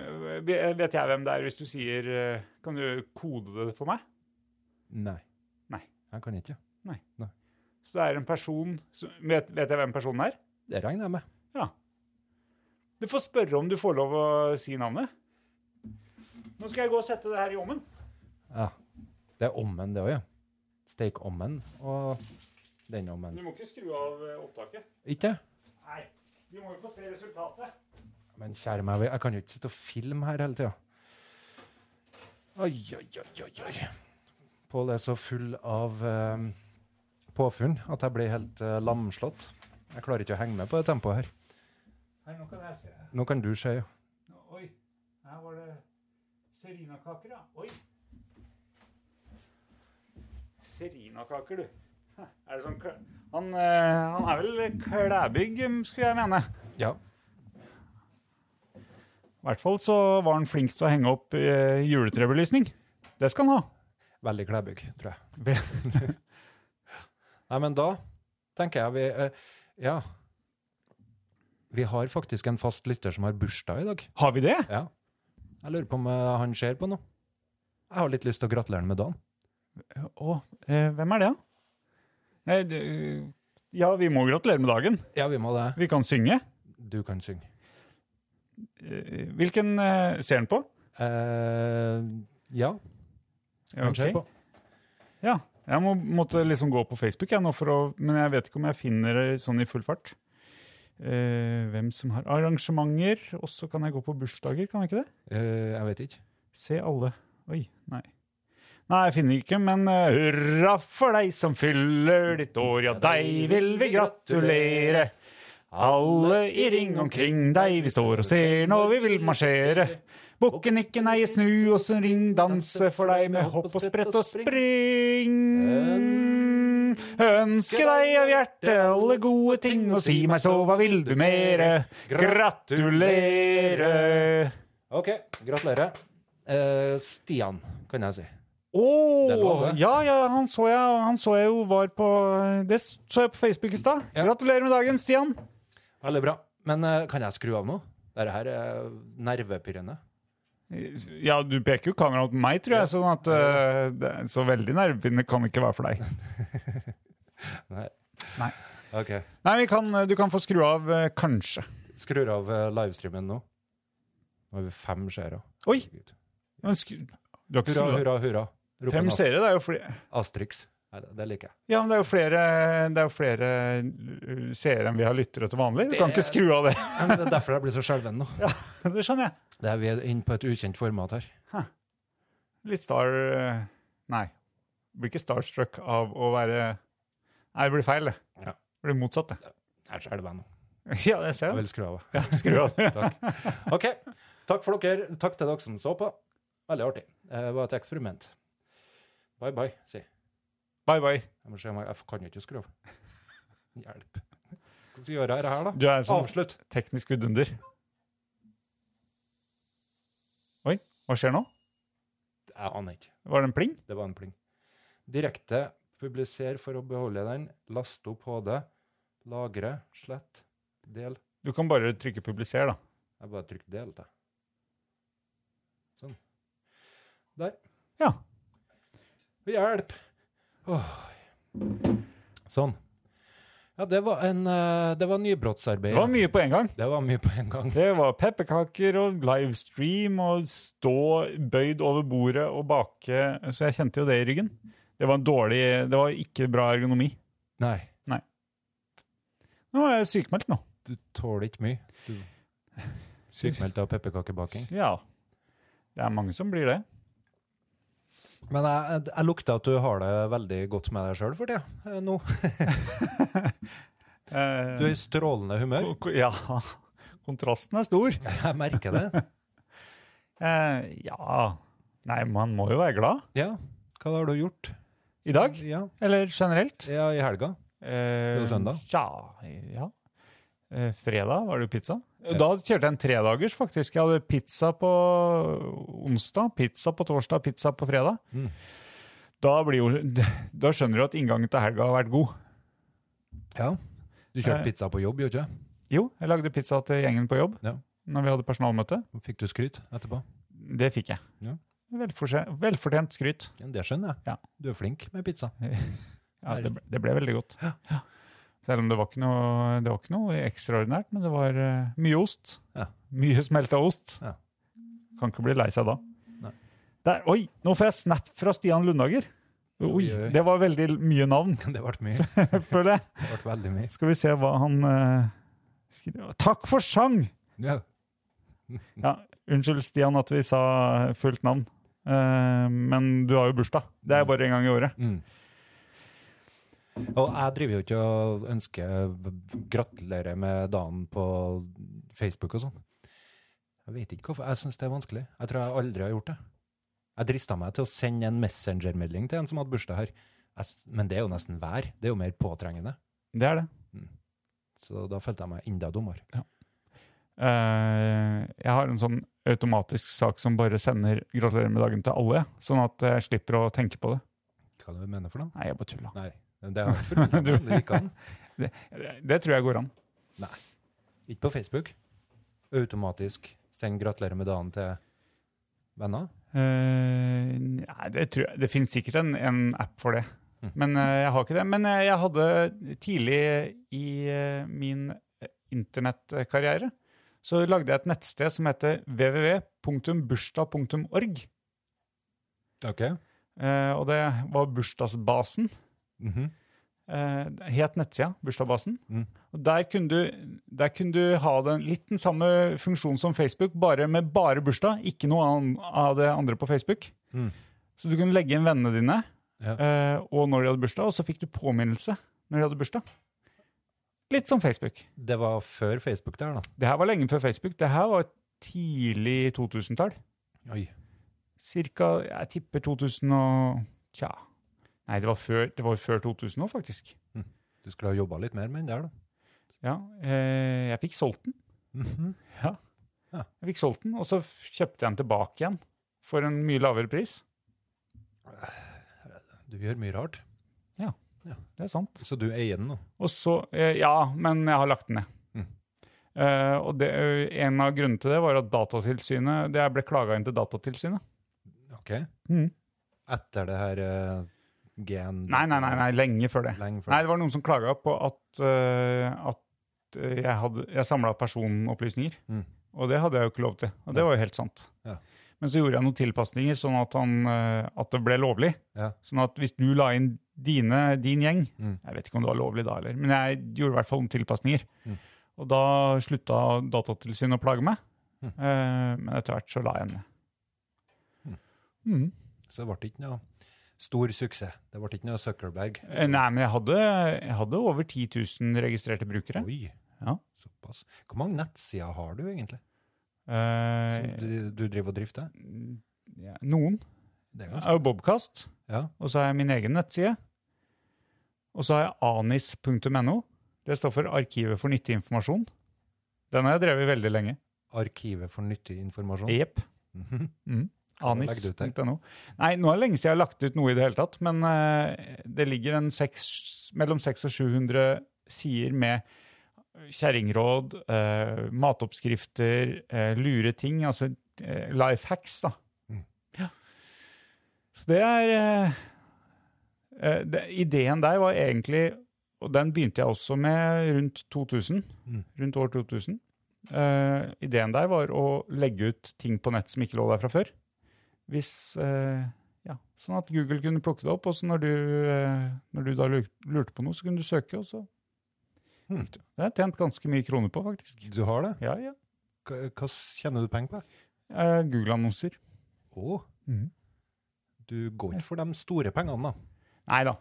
Speaker 4: vet jeg hvem det er hvis du sier eh, Kan du kode det for meg?
Speaker 5: Nei.
Speaker 4: Nei.
Speaker 5: Jeg kan ikke.
Speaker 4: Så det er en person som, vet, vet jeg hvem personen er?
Speaker 5: Det regner jeg med.
Speaker 4: Du får spørre om du får lov å si navnet. Nå skal jeg gå og sette det her i ovnen.
Speaker 5: Ja. Det er ommen, det òg, ja. Steik ommen og den ommen.
Speaker 4: Du må ikke skru av eh, opptaket.
Speaker 5: Ikke?
Speaker 4: Nei, vi må jo få se resultatet.
Speaker 5: Men kjære meg, jeg kan jo ikke sitte og filme her hele tida. Oi, oi, oi, oi, oi. Pål er så full av eh, påfunn at jeg blir helt eh, lamslått. Jeg klarer ikke å henge med på det tempoet her.
Speaker 4: Her, nå kan jeg se.
Speaker 5: Nå kan du se, ja.
Speaker 4: Nå, Oi, her var det serinakaker, ja. Oi. Serinakaker, du. Hæ, Er det sånn kl- han, eh, han er vel klæbygg, em, skulle jeg mene.
Speaker 5: Ja.
Speaker 4: I hvert fall så var han flink til å henge opp eh, juletrebelysning. Det skal han ha.
Speaker 5: Veldig klæbygg, tror jeg.
Speaker 4: Ve-
Speaker 5: Nei, men da tenker jeg vi eh, Ja. Vi har faktisk en fast lytter som har bursdag i dag.
Speaker 4: Har vi det?
Speaker 5: Ja. Jeg lurer på om eh, han ser på noe. Jeg har litt lyst til å gratulere han med dagen.
Speaker 4: Å, eh, hvem er det, da? Nei, du, ja, vi må gratulere med dagen.
Speaker 5: Ja, vi må det.
Speaker 4: Vi kan synge.
Speaker 5: Du kan synge.
Speaker 4: Eh, Hvilken eh, ser han på?
Speaker 5: Eh, ja, han ser
Speaker 4: Ok.
Speaker 5: på.
Speaker 4: Ja. Jeg må, måtte liksom gå på Facebook, jeg nå for å, men jeg vet ikke om jeg finner det sånn i full fart. Eh, hvem som har arrangementer. Og så kan jeg gå på bursdager, kan jeg ikke det?
Speaker 5: Eh, jeg vet ikke.
Speaker 4: Se alle. Oi, nei. Nei, jeg finner ikke, men eh, hurra for deg som fyller ditt år, ja, deg vil vi gratulere. Alle i ring omkring deg, vi står og ser når vi vil marsjere. Bukken ikke nei, snu oss en ring, danse for deg med hopp og sprett og spring. Ønske deg av hjertet alle gode ting, og si meg så, hva vil du mere? Gratulere!
Speaker 5: OK, gratulerer. Eh, Stian, kan jeg si. Den var
Speaker 4: Åh,
Speaker 5: det.
Speaker 4: ja, ja, han så, jeg, han så jeg jo var på Det så jeg på Facebook i stad.
Speaker 5: Ja.
Speaker 4: Gratulerer med dagen, Stian.
Speaker 5: Veldig bra. Men eh, kan jeg skru av nå? Dette her er nervepirrende.
Speaker 4: Ja, du peker jo kameraet mot meg, tror jeg, sånn at eh, det, så veldig nervepirrende kan det ikke være for deg.
Speaker 5: Nei.
Speaker 4: Nei.
Speaker 5: OK.
Speaker 4: Nei, vi kan, du kan få skru av, eh, kanskje.
Speaker 5: Skrur av eh, livestreamen nå. Nå har vi fem seere.
Speaker 4: Oi!
Speaker 5: Herregud.
Speaker 4: Men skru, du har ikke
Speaker 5: Hurra,
Speaker 4: skrudd av?
Speaker 5: hurra, hurra. Roper
Speaker 4: Fem
Speaker 5: en Ast-
Speaker 4: seere, det er jo flere
Speaker 5: Asterix. Nei, det, det liker jeg.
Speaker 4: Ja, men det er jo flere, det er jo flere uh, seere enn vi har lyttere til vanlig. Du kan ikke skru av det.
Speaker 5: Men det er derfor jeg blir så skjelven nå.
Speaker 4: Det skjønner jeg.
Speaker 5: Det er vi er inne på et ukjent format her.
Speaker 4: Litt star... eh, Nei. Blir ikke starstruck av å være Nei, det blir feil, det.
Speaker 5: Ja.
Speaker 4: Det blir motsatt, det.
Speaker 5: Jeg skjelver nå.
Speaker 4: Ja, jeg ser det.
Speaker 5: Jeg vil skru av.
Speaker 4: Ja, skru av det.
Speaker 5: Takk. OK. Takk for dere. Takk til dere som så på. Veldig artig. Eh, Det var et eksperiment. Bye, bye, si.
Speaker 4: Bye, bye.
Speaker 5: Jeg må se om jeg, jeg kan jo ikke skru av. Hjelp. Hva skal vi gjøre her, her da?
Speaker 4: Du er en sånn
Speaker 5: Avslutt.
Speaker 4: teknisk vidunder. Oi, hva skjer nå?
Speaker 5: Jeg aner ikke.
Speaker 4: Var det en pling?
Speaker 5: Det var en pling. Direkte publiser for å beholde den. Last opp HD. Lagre. Slett. Del.
Speaker 4: Du kan bare trykke 'publiser', da.
Speaker 5: Jeg bare trykker del, da. Sånn. Der.
Speaker 4: Ja.
Speaker 5: Hjelp! Åh. Sånn. Ja, det var en eh, Det var nybrottsarbeid.
Speaker 4: Det var mye på en gang.
Speaker 5: Det var mye på en gang.
Speaker 4: Det var pepperkaker og livestream og stå bøyd over bordet og bake. Så jeg kjente jo det i ryggen. Det var en dårlig Det var ikke bra ergonomi.
Speaker 5: Nei,
Speaker 4: Nå er jeg sykemeldt nå.
Speaker 5: du tåler ikke mye. Du sykmeldte av pepperkakebaking.
Speaker 4: Ja. Det er mange som blir det.
Speaker 5: Men jeg, jeg lukter at du har det veldig godt med deg sjøl for tida. eh, Nå.
Speaker 4: Eh,
Speaker 5: Du er i strålende humør.
Speaker 4: ko- ko- Ja. Kontrasten er stor.
Speaker 5: Jeg merker det.
Speaker 4: Eh, ja Nei, man må jo være glad.
Speaker 5: Ja. Hva har du gjort?
Speaker 4: I dag?
Speaker 5: Ja,
Speaker 4: Eller generelt?
Speaker 5: ja i helga.
Speaker 4: Eh,
Speaker 5: Det er jo søndag.
Speaker 4: Ja. ja. Eh, fredag var det jo pizza. Da kjørte jeg en tredagers, faktisk. Jeg hadde pizza på onsdag, pizza på torsdag, pizza på fredag.
Speaker 5: Mm.
Speaker 4: Da, blir jo, da skjønner du at inngangen til helga har vært god.
Speaker 5: Ja. Du
Speaker 4: Eh.
Speaker 5: kjørte pizza på jobb, gjorde du ikke?
Speaker 4: Jo, jeg lagde pizza til gjengen på jobb
Speaker 5: Ja.
Speaker 4: når vi hadde personalmøte.
Speaker 5: Fikk du skryt etterpå?
Speaker 4: Det fikk jeg.
Speaker 5: Ja.
Speaker 4: Velforse- Velfortjent skryt.
Speaker 5: Ja, Det skjønner jeg.
Speaker 4: Ja.
Speaker 5: Du er flink med pizza.
Speaker 4: Ja, det, ble, det ble veldig godt. Ja. Selv om det var, ikke noe, det var ikke noe ekstraordinært, men det var eh, mye ost.
Speaker 5: Ja.
Speaker 4: Mye smelta ost.
Speaker 5: Ja.
Speaker 4: Kan ikke bli lei seg da.
Speaker 5: Nei.
Speaker 4: Der, oi, nå får jeg snap fra Stian Lundager! Oi,
Speaker 5: Oi, oi.
Speaker 4: det var veldig mye navn,
Speaker 5: Det ble mye.
Speaker 4: føler jeg.
Speaker 5: Det ble veldig mye.
Speaker 4: Skal vi se hva han eh, skriver. Takk for sang!
Speaker 5: Ja.
Speaker 4: Ja, unnskyld, Stian, at vi sa fullt navn. Eh, men du har jo bursdag. Det er bare en gang i året.
Speaker 5: Mm. Og jeg driver jo ikke og ønsker gratulerer med dagen på Facebook og sånn. Jeg vet ikke hvorfor. Jeg syns det er vanskelig. Jeg tror jeg aldri har gjort det. Jeg drista meg til å sende en messengermelding til en som hadde bursdag her. Jeg, s- men det er jo nesten hver. Det er jo mer påtrengende.
Speaker 4: Det er det.
Speaker 5: Så da følte jeg meg enda dummere.
Speaker 4: Eh, jeg har en sånn automatisk sak som bare sender 'gratulerer med dagen' til alle, sånn at jeg slipper å tenke på det.
Speaker 5: Hva du mener for noe?
Speaker 4: Nei, jeg bare tulla.
Speaker 5: Nei, det har jeg forundret meg. Det gikk an.
Speaker 4: Det tror jeg går an.
Speaker 5: Ikke på Facebook. Automatisk send gratulerer med dagen til venner.
Speaker 4: Eh, nei, det, tror jeg. det finnes sikkert en, en app for det,
Speaker 5: Mm.
Speaker 4: men eh, jeg har ikke det. Men eh, jeg hadde tidlig i eh, min eh, internettkarriere så lagde jeg et nettsted som heter www.bursdag.org.
Speaker 5: Ok.
Speaker 4: Eh, og det var bursdagsbasen.
Speaker 5: Mhm.
Speaker 4: eh, het nettsida, Bursdagsbasen.
Speaker 5: Mm.
Speaker 4: Og der kunne, du, der kunne du ha den, litt den samme funksjonen som Facebook, bare med bare bursdag, ikke noe an, av det andre på Facebook.
Speaker 5: Mm.
Speaker 4: Så du kunne legge inn vennene dine
Speaker 5: Ja.
Speaker 4: eh, og når de hadde bursdag, og så fikk du påminnelse når de hadde bursdag. Litt som Facebook.
Speaker 5: Det var før Facebook der, da.
Speaker 4: Det her var lenge før Facebook. Det her var tidlig 2000-tall.
Speaker 5: Oi.
Speaker 4: Cirka, jeg tipper 2000 og Tja. Nei, det var før, det var jo før 2000 nå, faktisk.
Speaker 5: Du skulle ha jobba litt mer med den der, da.
Speaker 4: Ja, eh, jeg fikk solgt den.
Speaker 5: Mhm.
Speaker 4: Jeg fikk solgt den, og så f- kjøpte jeg den tilbake igjen for en mye lavere pris.
Speaker 5: Du gjør mye rart.
Speaker 4: Det er sant.
Speaker 5: Så du eier den nå?
Speaker 4: Og så, eh, ja, men jeg har lagt den ned.
Speaker 5: Mm.
Speaker 4: Eh, og det, en av grunnene til det var at Datatilsynet Det ble klaga inn til Datatilsynet.
Speaker 5: Ok. Mhm. Etter det her eh, gen...
Speaker 4: Nei, nei, nei, nei, lenge før det.
Speaker 5: Lenge før.
Speaker 4: Nei, det var noen som klaga på at, eh, at eh, jeg, hadde- jeg samla personopplysninger.
Speaker 5: Mm.
Speaker 4: Og det hadde jeg jo ikke lov til. Og det var jo helt sant.
Speaker 5: Ja.
Speaker 4: Men så gjorde jeg noen tilpasninger, sånn at, han, eh, at det ble lovlig.
Speaker 5: Ja.
Speaker 4: Sånn at hvis du la inn dine, din gjeng
Speaker 5: Mm.
Speaker 4: Jeg vet ikke om det var lovlig da heller, men jeg gjorde i hvert fall noen tilpasninger.
Speaker 5: Mm.
Speaker 4: Og da slutta Datatilsynet å plage meg.
Speaker 5: Mm.
Speaker 4: Eh, men etter hvert så la jeg henne.
Speaker 5: Mm.
Speaker 4: Mm.
Speaker 5: Så det ble ikke noe stor suksess. Det ble ikke noe Zuckerberg.
Speaker 4: Eh, Nei, men jeg hadde, jeg hadde over 10 000 registrerte brukere.
Speaker 5: Oi,
Speaker 4: Ja.
Speaker 5: såpass. Hvor mange nettsider har du egentlig? Som
Speaker 4: Eh,
Speaker 5: du, du driver og drifter?
Speaker 4: ja, noen.
Speaker 5: Det er
Speaker 4: Jeg
Speaker 5: ganske...
Speaker 4: har jo Bobcast,
Speaker 5: Ja,
Speaker 4: og så har jeg min egen nettside. Og så har jeg anis.no. Det står for Arkivet for nyttig informasjon. Den har jeg drevet veldig lenge.
Speaker 5: Arkivet for nyttig informasjon.
Speaker 4: Jepp.
Speaker 5: Mhm.
Speaker 4: Mm.
Speaker 5: Hva legger du til?
Speaker 4: Anis.no. Nei, nå er det lenge siden jeg har lagt ut noe i det hele tatt, men eh, det ligger en seks, mellom 600 og 700 sider med kjerringråd, eh, matoppskrifter, eh, lure ting, altså eh, life hacks, da.
Speaker 5: Mm.
Speaker 4: Ja. Så det er eh, eh, det, Ideen der var egentlig Og den begynte jeg også med rundt 2000.
Speaker 5: Mm.
Speaker 4: Rundt år 2000. Eh, ideen der var å legge ut ting på nett som ikke lå der fra før. Hvis, eh, ja, sånn at Google kunne plukke det opp, og så når du, eh, når du da lur- lurte på noe, så kunne du søke, og så
Speaker 5: Hmm.
Speaker 4: Det har jeg tjent ganske mye kroner på, faktisk.
Speaker 5: Du har det?
Speaker 4: Ja, ja.
Speaker 5: Hva, hva tjener du penger på?
Speaker 4: Eh, Google-annonser.
Speaker 5: Å, Mhm. du går ikke for de store pengene, da.
Speaker 4: Nei da.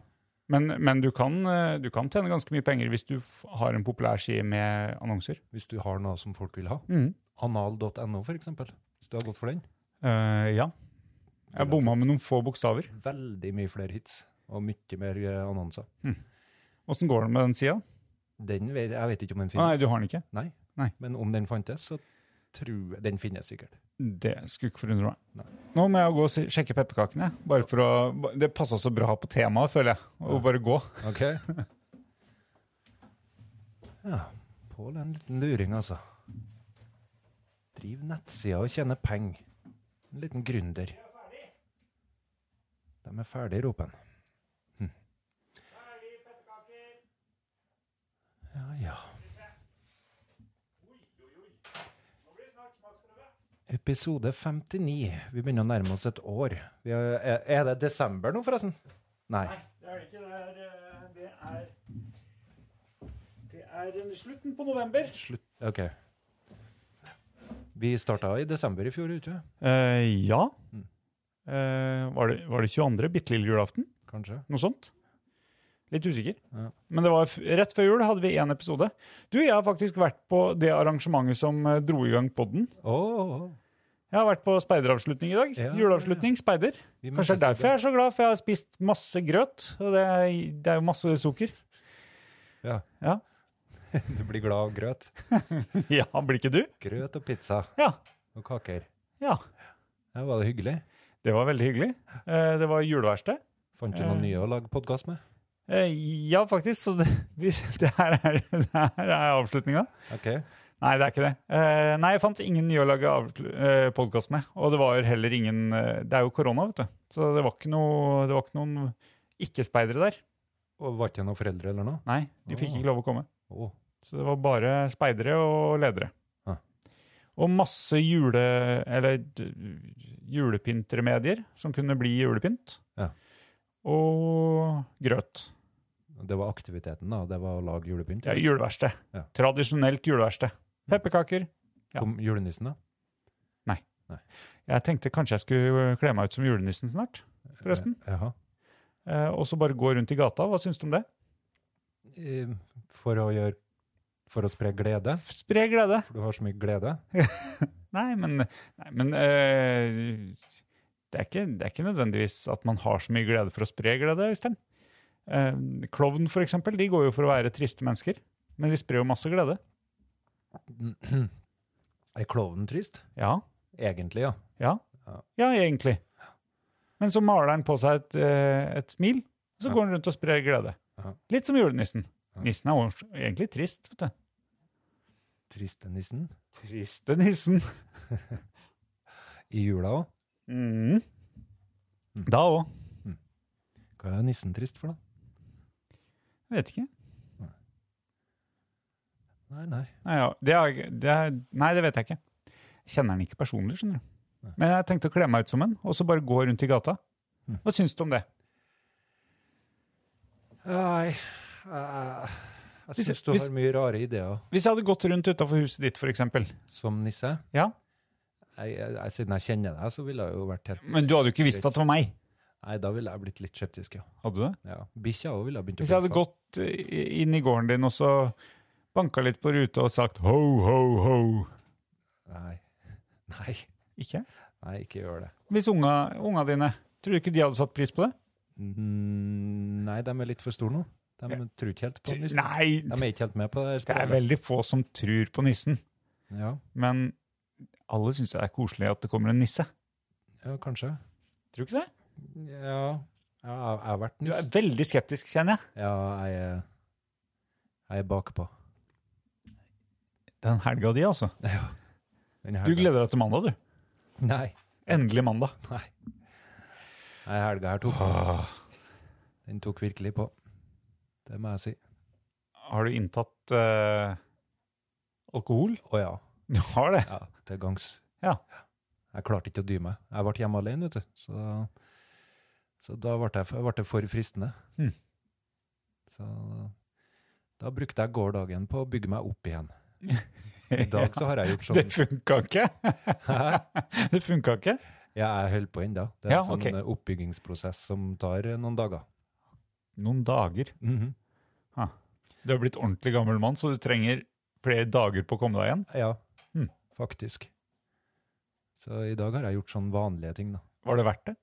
Speaker 4: Men, men du, kan, eh, du kan tjene ganske mye penger hvis du f- har en populær side med annonser.
Speaker 5: Hvis du har noe som folk vil ha.
Speaker 4: Mhm.
Speaker 5: Anal.no, for eksempel. Hvis du har gått for den.
Speaker 4: Eh, ja. Jeg bomma med noen få bokstaver.
Speaker 5: Veldig mye flere hits og mye mer eh, annonser.
Speaker 4: Åssen går det med den sida?
Speaker 5: Den vet, jeg vet ikke om den finnes.
Speaker 4: Nei, du har den ikke.
Speaker 5: Nei.
Speaker 4: Nei.
Speaker 5: Men om den fantes, så tror jeg Den finnes sikkert.
Speaker 4: Det skulle ikke forundre meg.
Speaker 5: Nei.
Speaker 4: Nå må jeg gå og se- sjekke pepperkakene. jeg. Bare for å, ba- det passa så bra på temaet, føler jeg. Å bare gå.
Speaker 5: OK? Ja. Pål er en liten luring, altså. Driv nettsida og tjener penger. En liten gründer. De er ferdig, roper han. Hm. Ja, ja. Episode 59. Vi begynner å nærme oss et år. Vi er, er- er det desember nå, forresten? Nei.
Speaker 1: Det er det ikke. Det er Det er, det er slutten på november.
Speaker 5: Slutt. OK. Vi starta i desember i fjor, gjorde vi ikke?
Speaker 4: Eh, ja. Eh,
Speaker 5: Mm.
Speaker 4: var, det, 22. bitte lille julaften?
Speaker 5: Kanskje?
Speaker 4: Noe sånt? Litt usikker.
Speaker 5: Ja.
Speaker 4: Men det var f rett før jul hadde vi én episode. Du, jeg har faktisk vært på det arrangementet som eh, dro i gang podden.
Speaker 5: Å, å, å.
Speaker 4: Jeg har vært på speideravslutning i dag.
Speaker 5: Ja,
Speaker 4: Juleavslutning, speider.
Speaker 5: Vi
Speaker 4: Kanskje
Speaker 5: møtes
Speaker 4: det er derfor
Speaker 5: i
Speaker 4: jeg er så glad, for jeg har spist masse grøt. Og det er, det er jo masse sukker.
Speaker 5: Ja.
Speaker 4: Ja.
Speaker 5: dag. Du blir glad av grøt.
Speaker 4: ja, blir ikke du?
Speaker 5: Grøt og pizza
Speaker 4: Ja.
Speaker 5: og kaker.
Speaker 4: ja.
Speaker 5: Ja, var det hyggelig?
Speaker 4: Det var veldig hyggelig. Eh, Det var juleverksted.
Speaker 5: Fant du noen
Speaker 4: Eh.
Speaker 5: nye å lage podkast med?
Speaker 4: Eh, Ja, faktisk. Så det, hvis, det her er, det her er avslutninga.
Speaker 5: OK.
Speaker 4: Nei, det er ikke det. Eh, Nei, jeg fant ingen nye å lage podkast med. Og det var heller ingen eh, Det er jo korona, vet du. Så det var ikke, noe, det var ikke noen ikke-speidere der.
Speaker 5: Og Var det ikke noen foreldre eller noe?
Speaker 4: Nei, de fikk
Speaker 5: Ah.
Speaker 4: ikke lov å komme.
Speaker 5: Å,
Speaker 4: Så det var bare speidere og ledere.
Speaker 5: Ah.
Speaker 4: Og masse jule... Eller d- julepyntremedier som kunne bli julepynt.
Speaker 5: Ja.
Speaker 4: Og grøt.
Speaker 5: Det var aktiviteten, da. Det var å lage julepynt.
Speaker 4: Det er juleverksted.
Speaker 5: Ja. Mm.
Speaker 4: Tradisjonelt juleverksted. Pepperkaker. ja.
Speaker 5: Kom julenissen, da?
Speaker 4: Jeg tenkte kanskje jeg skulle kle meg ut som julenissen snart, forresten.
Speaker 5: Eh, Jaha.
Speaker 4: Eh, og så bare gå rundt i gata. Hva syns du om det?
Speaker 5: Eh, For å gjøre For å spre glede?
Speaker 4: Spre glede.
Speaker 5: For du har så mye glede?
Speaker 4: Nei, men, nei, men eh, det, er ikke, det er ikke nødvendigvis at man har så mye glede for å spre glede, Øystein. Eh, klovn, for eksempel, de går jo for å være triste mennesker, men de sprer jo masse glede.
Speaker 5: Er klovnen trist?
Speaker 4: Ja,
Speaker 5: Egentlig, ja.
Speaker 4: ja,
Speaker 5: Ja.
Speaker 4: ja, egentlig. Men så maler han på seg et, eh, et smil, og så
Speaker 5: Ja.
Speaker 4: går han rundt og sprer glede.
Speaker 5: Ja.
Speaker 4: Litt som julenissen.
Speaker 5: Ja.
Speaker 4: Nissen er jo egentlig trist, vet du.
Speaker 5: Triste nissen.
Speaker 1: Triste nissen.
Speaker 5: I jula òg.
Speaker 4: Mhm.
Speaker 1: Mm.
Speaker 5: Mm.
Speaker 1: Da òg.
Speaker 5: Hva er nissen trist for, da?
Speaker 4: Vet ikke.
Speaker 5: Nei, nei.
Speaker 4: Nei, ja, det har jeg- det er, nei, det vet jeg ikke. Jeg kjenner den ikke personlig, skjønner du.
Speaker 5: Nei.
Speaker 4: Men jeg tenkte å kle meg ut som en, og så bare gå rundt i gata.
Speaker 5: Mm.
Speaker 4: Hva syns du om det?
Speaker 5: Nei. eh, Jeg
Speaker 4: Hvis-
Speaker 5: syns du
Speaker 4: hvis-
Speaker 5: har mye rare ideer
Speaker 4: Hvis jeg hadde gått rundt utafor huset ditt, f.eks.
Speaker 5: som nisse.
Speaker 4: Ja,
Speaker 5: Jeg, jeg, jeg, siden jeg kjenner deg, så ville jeg jo vært helt
Speaker 4: men du hadde jo ikke visst at det var meg.
Speaker 5: Nei, da ville jeg blitt litt skeptisk, ja.
Speaker 4: Hadde du det?
Speaker 5: ja. Bikkja òg ville ha begynt å
Speaker 4: Hvis jeg hadde
Speaker 5: bjeffe.
Speaker 4: gått eh, inn i gården din og så banka litt på ruta og sagt ho, ho, ho.
Speaker 5: Nei. Nei.
Speaker 4: Ikke?
Speaker 5: Nei, ikke gjør det.
Speaker 4: Hvis unga, unga dine Tror du ikke de hadde satt pris på det?
Speaker 5: Mm, Nei, de er litt for store nå. De tror ikke helt på nissen.
Speaker 4: Nei,
Speaker 5: De er ikke helt med på det her
Speaker 4: det er
Speaker 5: spillet.
Speaker 4: veldig få som tror på nissen.
Speaker 5: Ja,
Speaker 4: Men alle syns det er koselig at det kommer en nisse.
Speaker 5: ja kanskje.
Speaker 4: Tror du ikke det?
Speaker 5: Ja, ja jeg jeg har vært
Speaker 4: Du
Speaker 5: niss.
Speaker 4: er veldig skeptisk, kjenner jeg.
Speaker 5: Ja, jeg er, jeg er bakpå.
Speaker 4: Den helga di, altså.
Speaker 5: Ja. Den
Speaker 4: Du
Speaker 5: helga-
Speaker 4: gleder deg til mandag, du.
Speaker 5: Nei.
Speaker 4: Endelig mandag.
Speaker 5: Nei. Nei, helga her tok
Speaker 4: Ah.
Speaker 5: Den tok virkelig på. Det må jeg si.
Speaker 4: Har du inntatt eh, alkohol?
Speaker 5: Å ja.
Speaker 4: Du har det.
Speaker 5: ja. Til gangs.
Speaker 4: Ja.
Speaker 5: Jeg klarte ikke å dy meg. Jeg ble hjemme alene, vet du. Så, så da ble, jeg, ble det for fristende.
Speaker 4: Mm.
Speaker 5: Så da brukte jeg gårsdagen på å bygge meg opp igjen. I dag så har jeg gjort sånn.
Speaker 4: Det funka ikke. det funka ikke.
Speaker 5: Ja, jeg holder på ennå. Det er
Speaker 4: Ja,
Speaker 5: en sånn
Speaker 4: ok.
Speaker 5: eh, oppbyggingsprosess som tar eh, noen dager.
Speaker 4: Noen dager.
Speaker 5: Mhm.
Speaker 4: Du er blitt ordentlig gammel mann, så du trenger flere dager på å komme deg igjen.
Speaker 5: Ja,
Speaker 4: Mm.
Speaker 5: faktisk. Så i dag har jeg gjort sånn vanlige ting, da.
Speaker 4: Var det verdt det?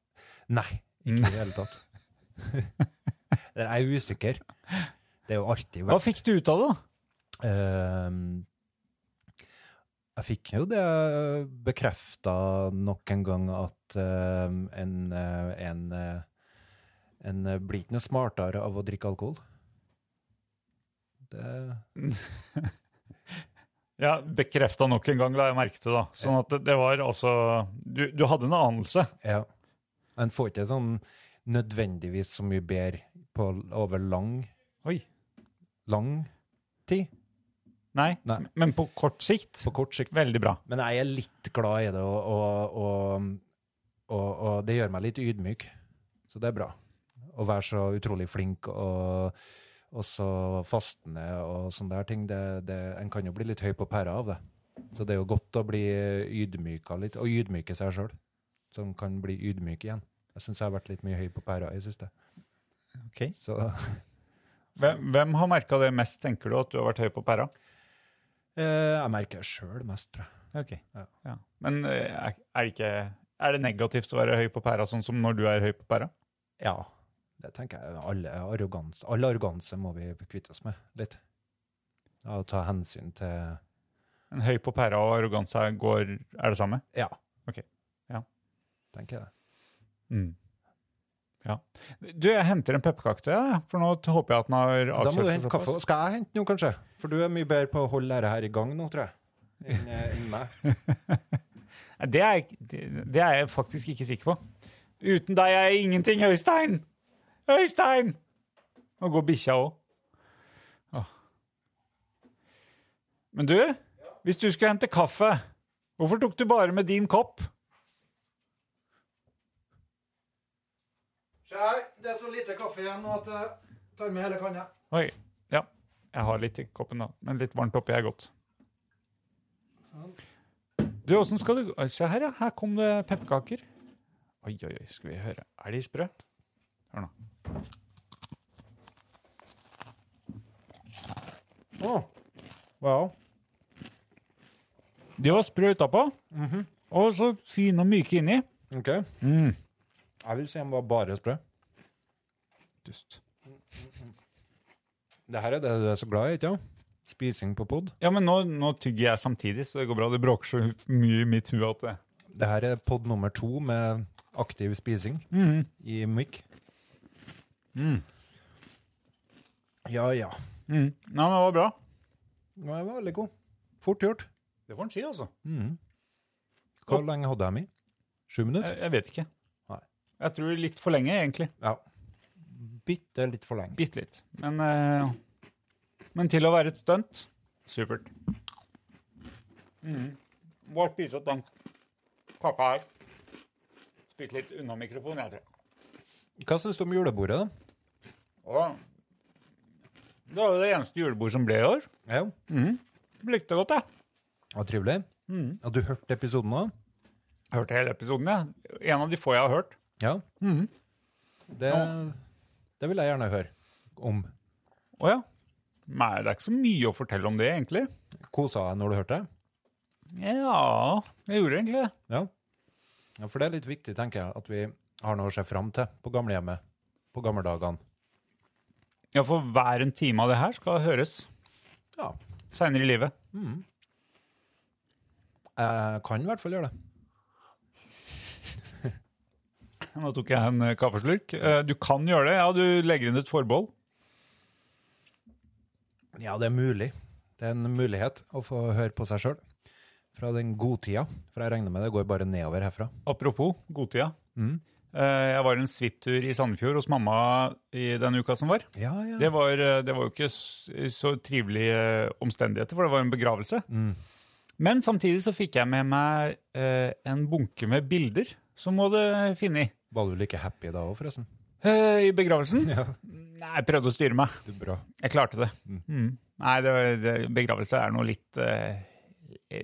Speaker 5: Nei, ikke i det hele tatt. Jeg er usikker. Det er jo alltid
Speaker 4: Hva
Speaker 5: vært
Speaker 4: fikk du ut av det, da?
Speaker 5: Ehm, Jeg fikk jo det bekrefta nok en gang at ehm, en, eh, en, eh, en eh, blir ikke noe smartere av å drikke alkohol. Det,
Speaker 4: Ja, Bekrefta nok en gang, la jeg merke til. da. Sånn at det, det var altså du, du hadde en anelse.
Speaker 5: ja. En får ikke sånn nødvendigvis så mye bedre på, over lang,
Speaker 4: Oi.
Speaker 5: lang tid,
Speaker 4: Nei,
Speaker 5: Nei.
Speaker 4: men på kort sikt
Speaker 5: på kort sikt.
Speaker 4: Veldig bra.
Speaker 5: Men jeg er litt glad i det, og, og, og, og, og det gjør meg litt ydmyk. Så det er bra. Å være så utrolig flink og, og så fastende og sånne der ting, det, det, en kan jo bli litt høy på pæra av det. Så det er jo godt å bli ydmyka litt, og ydmyke seg sjøl. Som kan bli ydmyk igjen. Jeg syns jeg har vært litt mye høy på pæra i det siste.
Speaker 4: Ok.
Speaker 5: Så
Speaker 4: Hvem, hvem har merka det mest, tenker du, at du har vært høy på pæra?
Speaker 5: eh, jeg merker det sjøl mest, tror jeg.
Speaker 4: Ok.
Speaker 5: Ja.
Speaker 4: Ja. Men eh, er, er, det ikke, er det negativt å være høy på pæra, sånn som når du er høy på pæra?
Speaker 5: Ja. Det tenker jeg. Alle arroganse, all arroganse må vi kvitte oss med litt. Ja, og ta hensyn til
Speaker 4: En høy på pæra og arroganse er- går, er det samme?
Speaker 5: Ja.
Speaker 4: Ok, ja.
Speaker 5: Tenker jeg det. Mm.
Speaker 4: Ja. Du, jeg henter en pepperkake til deg, for nå håper jeg at den har
Speaker 5: Da må
Speaker 4: avkjølt
Speaker 5: du
Speaker 4: seg
Speaker 5: hente kaffe.
Speaker 4: såpass.
Speaker 5: Skal jeg hente noe, kanskje? For du er mye bedre på å holde dette her i gang nå, tror jeg. Enn eh, enn meg.
Speaker 4: Nei, Det er, jeg- det, det er jeg faktisk ikke sikker på. Uten deg er jeg ingenting, Øystein! Øystein! Nå går bikkja òg. Men du, hvis du skulle hente kaffe, hvorfor tok du bare med din kopp?
Speaker 5: Se her, det er så lite kaffe igjen nå at jeg tar med hele kanna.
Speaker 4: Oi. Ja, jeg har litt i koppen, da. Men litt varmt oppi er godt. Du, åssen skal du Oi, Se her, ja. Her kom det pepperkaker. Oi, oi, oi. Skal vi høre. Er de sprø? Hør nå.
Speaker 5: Å. Ja.
Speaker 4: De var sprø utapå, Mhm. og så fine og myke inni.
Speaker 5: OK. Jeg vil si de var bare sprø.
Speaker 4: Dust.
Speaker 5: Det her er det du er så glad i, ikke sant? Spising på pod.
Speaker 4: Ja, men nå, nå tygger jeg samtidig, så det går bra. Det bråker så mye i mitt hue at det
Speaker 5: Det her er pod nummer to med aktiv spising
Speaker 4: Mhm,
Speaker 5: i mikk. Ja, ja.
Speaker 4: Nei, men det var bra.
Speaker 5: Den var veldig god. Fort gjort.
Speaker 4: Det får en si, altså.
Speaker 5: Mhm. Hvor lenge hadde jeg i? Sju minutter?
Speaker 4: Jeg, jeg vet ikke.
Speaker 5: Nei.
Speaker 4: Jeg tror litt for lenge, egentlig.
Speaker 5: Eh, Ja. Bitte litt for lenge.
Speaker 4: Bitte litt. Men, eh, men til å være et stunt supert. Bare spise opp den kaka her. Spise litt unna mikrofonen, jeg tror.
Speaker 5: Hva syns du om julebordet, da?
Speaker 4: Og det var jo det eneste julebordet som ble i år.
Speaker 5: Ja,
Speaker 4: Likte det godt, jeg.
Speaker 5: var trivelig.
Speaker 4: Mhm.
Speaker 5: Har du hørt episoden nå?
Speaker 4: Hørte hele episoden, jeg. En av de få jeg har hørt.
Speaker 5: Ja.
Speaker 4: Mhm.
Speaker 5: Det, Mm. det vil jeg gjerne høre om.
Speaker 4: Å ja. Nei, det er ikke så mye å fortelle om det, egentlig.
Speaker 5: Kosa deg når du hørte det?
Speaker 4: Ja, jeg gjorde egentlig det.
Speaker 5: Ja. ja. For det er litt viktig, tenker jeg, at vi har noe å se fram til på gamlehjemmet. På gammeldagene.
Speaker 4: Ja, for hver en time av det her skal høres
Speaker 5: Ja.
Speaker 4: seinere i livet.
Speaker 5: Jeg kan i hvert fall gjøre det.
Speaker 4: Nå tok jeg en eh, kaffeslurk. Eh, Du kan gjøre det. Ja, du legger inn et forbehold.
Speaker 5: Ja, det er mulig. Det er en mulighet å få høre på seg sjøl. Fra den godtida. For jeg regner med det går bare nedover herfra.
Speaker 4: Apropos godtida.
Speaker 5: Mhm.
Speaker 4: Eh, Jeg var en svipptur i Sandefjord hos mamma i den uka som var.
Speaker 5: Ja, ja.
Speaker 4: Det var, eh, det var jo ikke s- så trivelige eh, omstendigheter, for det var en begravelse.
Speaker 5: Mm.
Speaker 4: Men samtidig så fikk jeg med meg eh, en bunke med bilder som hun hadde funnet
Speaker 5: Var du like happy da òg, forresten?
Speaker 4: eh, i begravelsen.
Speaker 5: Ja.
Speaker 4: Nei, jeg prøvde å styre meg.
Speaker 5: Du, bra.
Speaker 4: Jeg klarte det. Mm. Nei, det, det, begravelse er noe litt eh,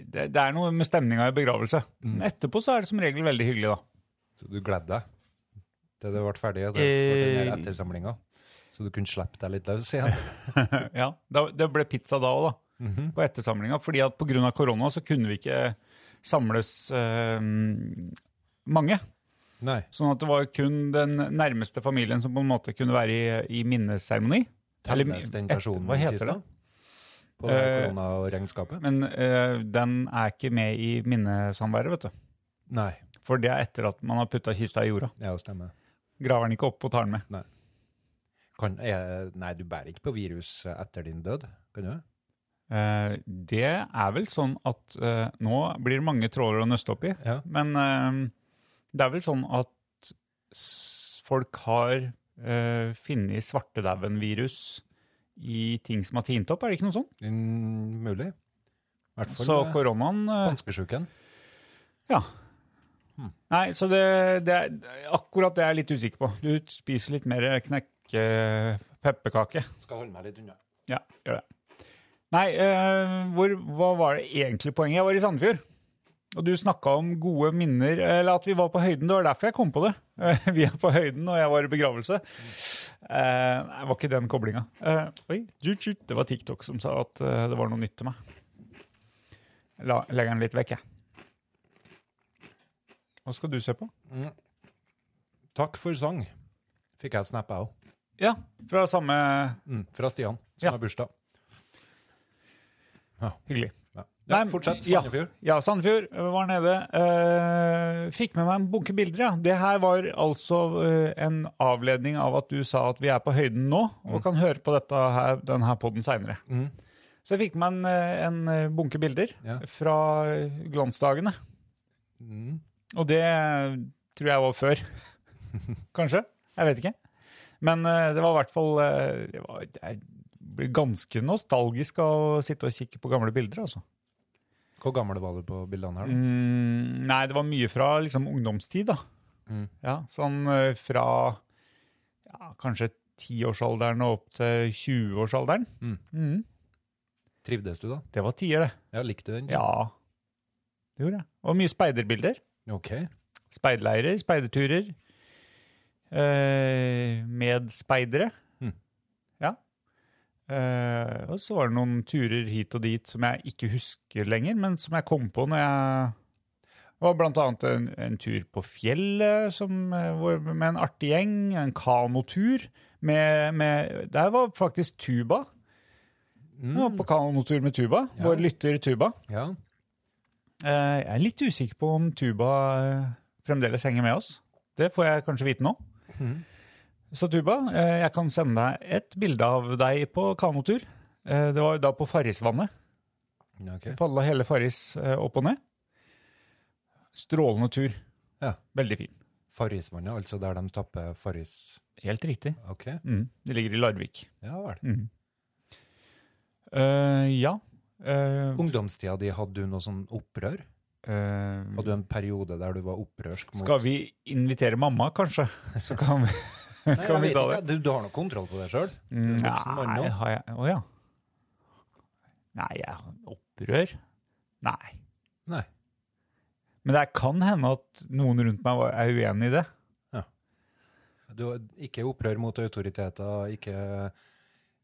Speaker 4: det, det er noe med stemninga i begravelse.
Speaker 5: Mm.
Speaker 4: Men etterpå så er det som regel veldig hyggelig, da.
Speaker 5: Så du gledde deg til det ble ferdig? Og det ble
Speaker 4: Eh.
Speaker 5: den ettersamlinga? Så du kunne slippe deg litt løs igjen?
Speaker 4: Ja, da- Det ble pizza da òg, da. På ettersamlinga. Fordi at pga. korona så kunne vi ikke samles eh, mange.
Speaker 5: Nei.
Speaker 4: Sånn at det var kun den nærmeste familien som på en måte kunne være i, i minneseremoni. Eller mi-
Speaker 5: Telles den
Speaker 4: et-
Speaker 5: personen
Speaker 4: hva
Speaker 5: i
Speaker 4: heter
Speaker 5: kista?
Speaker 4: det?
Speaker 5: På det
Speaker 4: Eh.
Speaker 5: koronaregnskapet?
Speaker 4: Men eh, den er ikke med i minnesamværet, vet du.
Speaker 5: Nei.
Speaker 4: For det er etter at man har putta kista i jorda.
Speaker 5: Ja, stemmer.
Speaker 4: Graver den ikke opp og tar den med.
Speaker 5: Kan, eh, nei, du bærer ikke på virus etter din død, kan du?
Speaker 4: Eh, det er vel sånn at eh, nå blir det mange tråler å nøste opp i,
Speaker 5: Ja.
Speaker 4: men eh, det er vel sånn at s- folk har uh, funnet svartedauden-virus i ting som har tint opp, er det ikke noe sånt?
Speaker 5: Mm, mulig. I hvert
Speaker 4: Så
Speaker 5: fall med
Speaker 4: koronaen eh,
Speaker 5: spanskesjuken.
Speaker 4: Ja. Nei, så det, det er akkurat det jeg er litt usikker på. Du spiser litt mer knekk-pepperkake.
Speaker 5: Skal holde meg litt unna.
Speaker 4: Ja, gjør det. Nei, eh, hvor, hva var det egentlig poenget? Jeg var i Sandefjord. Og du snakka om gode minner, eller at vi var på høyden. Det var derfor jeg kom på det. Eh, Vi er på høyden, og jeg var i begravelse. Eh, Nei, det var ikke den koblinga. Oi, tjut, tjut. det var TikTok som sa at eh, det var noe nytt til meg. La, legger den litt vekk, jeg. Hva skal du se på?
Speaker 5: Takk for sang, fikk jeg snap, jeg òg.
Speaker 4: Ja, fra samme
Speaker 5: Mm, fra Stian, som
Speaker 4: Ja.
Speaker 5: har bursdag.
Speaker 4: Hyggelig.
Speaker 5: Ja.
Speaker 4: Nei,
Speaker 5: Ja,
Speaker 4: men-
Speaker 5: fortsett,
Speaker 4: ja.
Speaker 5: Sandefjord.
Speaker 4: Ja, Sandefjord eh, var nede. Eh, fikk med meg en bunke bilder, ja. Det her var altså eh, en avledning av at du sa at vi er på høyden nå, og kan høre på dette her, denne podden seinere.
Speaker 5: Mm.
Speaker 4: Så jeg fikk med meg en, eh, en eh, bunke bilder
Speaker 5: Ja.
Speaker 4: fra eh, glansdagene.
Speaker 5: Mm.
Speaker 4: Og det eh, tror jeg var før. Kanskje. Jeg vet ikke. Men eh, det var i hvert fall eh, det var, Jeg blir ganske nostalgisk av å sitte og kikke på gamle bilder, altså.
Speaker 5: Hvor gammel var du på bildene her? da?
Speaker 4: Mm, nei, det var mye fra liksom, ungdomstid, da.
Speaker 5: Mm.
Speaker 4: Ja, sånn eh, fra ja, kanskje tiårsalderen og opp til 20-årsalderen.
Speaker 5: Mm.
Speaker 4: Mhm.
Speaker 5: Trivdes du, da?
Speaker 4: Det var tier, det.
Speaker 5: Ja, likte du den?
Speaker 4: Ja. Det gjorde jeg. Og mye speiderbilder.
Speaker 5: OK.
Speaker 4: Speiderleirer, speiderturer. Eh, med speidere.
Speaker 5: Mhm.
Speaker 4: Ja. Eh, og så var det noen turer hit og dit som jeg ikke husker lenger, men som jeg kom på når jeg Det var blant annet en, en tur på fjellet som, eh, hvor, med en artig gjeng, en kanotur. Med, med, der var faktisk tuba. Jeg var på kanotur med tuba.
Speaker 5: Ja.
Speaker 4: Vår lytter tuba.
Speaker 5: Ja.
Speaker 4: Eh, jeg er litt usikker på om tuba eh, fremdeles henger med oss. Det får jeg kanskje vite nå.
Speaker 5: Mhm.
Speaker 4: Så tuba, eh, jeg kan sende deg et bilde av deg på kanotur. Eh, det var jo da på Farrisvannet.
Speaker 5: Ok.
Speaker 4: Padla hele Farris eh, opp og ned. Strålende tur.
Speaker 5: Ja.
Speaker 4: Veldig fin.
Speaker 5: Farrisvannet, altså der de tapper Farris
Speaker 4: Helt riktig.
Speaker 5: OK.
Speaker 4: Mm. Det ligger i Larvik.
Speaker 5: Ja vel.
Speaker 4: Mm. Eh, ja. Eh,
Speaker 5: Ungdomstida di, hadde du noe sånn opprør?
Speaker 4: eh,
Speaker 5: Hadde du en periode der du var opprørsk mot
Speaker 4: skal vi invitere mamma, kanskje? Så kan vi,
Speaker 5: Nei,
Speaker 4: kan
Speaker 5: jeg
Speaker 4: vi
Speaker 5: vet
Speaker 4: ta
Speaker 5: ikke.
Speaker 4: det.
Speaker 5: Du, du har noe kontroll på det sjøl?
Speaker 4: Mm,
Speaker 5: Du er voksen mann nå.
Speaker 4: Nei, har jeg Å ja. Nei, jeg har opprør? Nei.
Speaker 5: Nei.
Speaker 4: Men det kan hende at noen rundt meg var- er uenig i det.
Speaker 5: Du, ikke opprør mot autoriteter, ikke,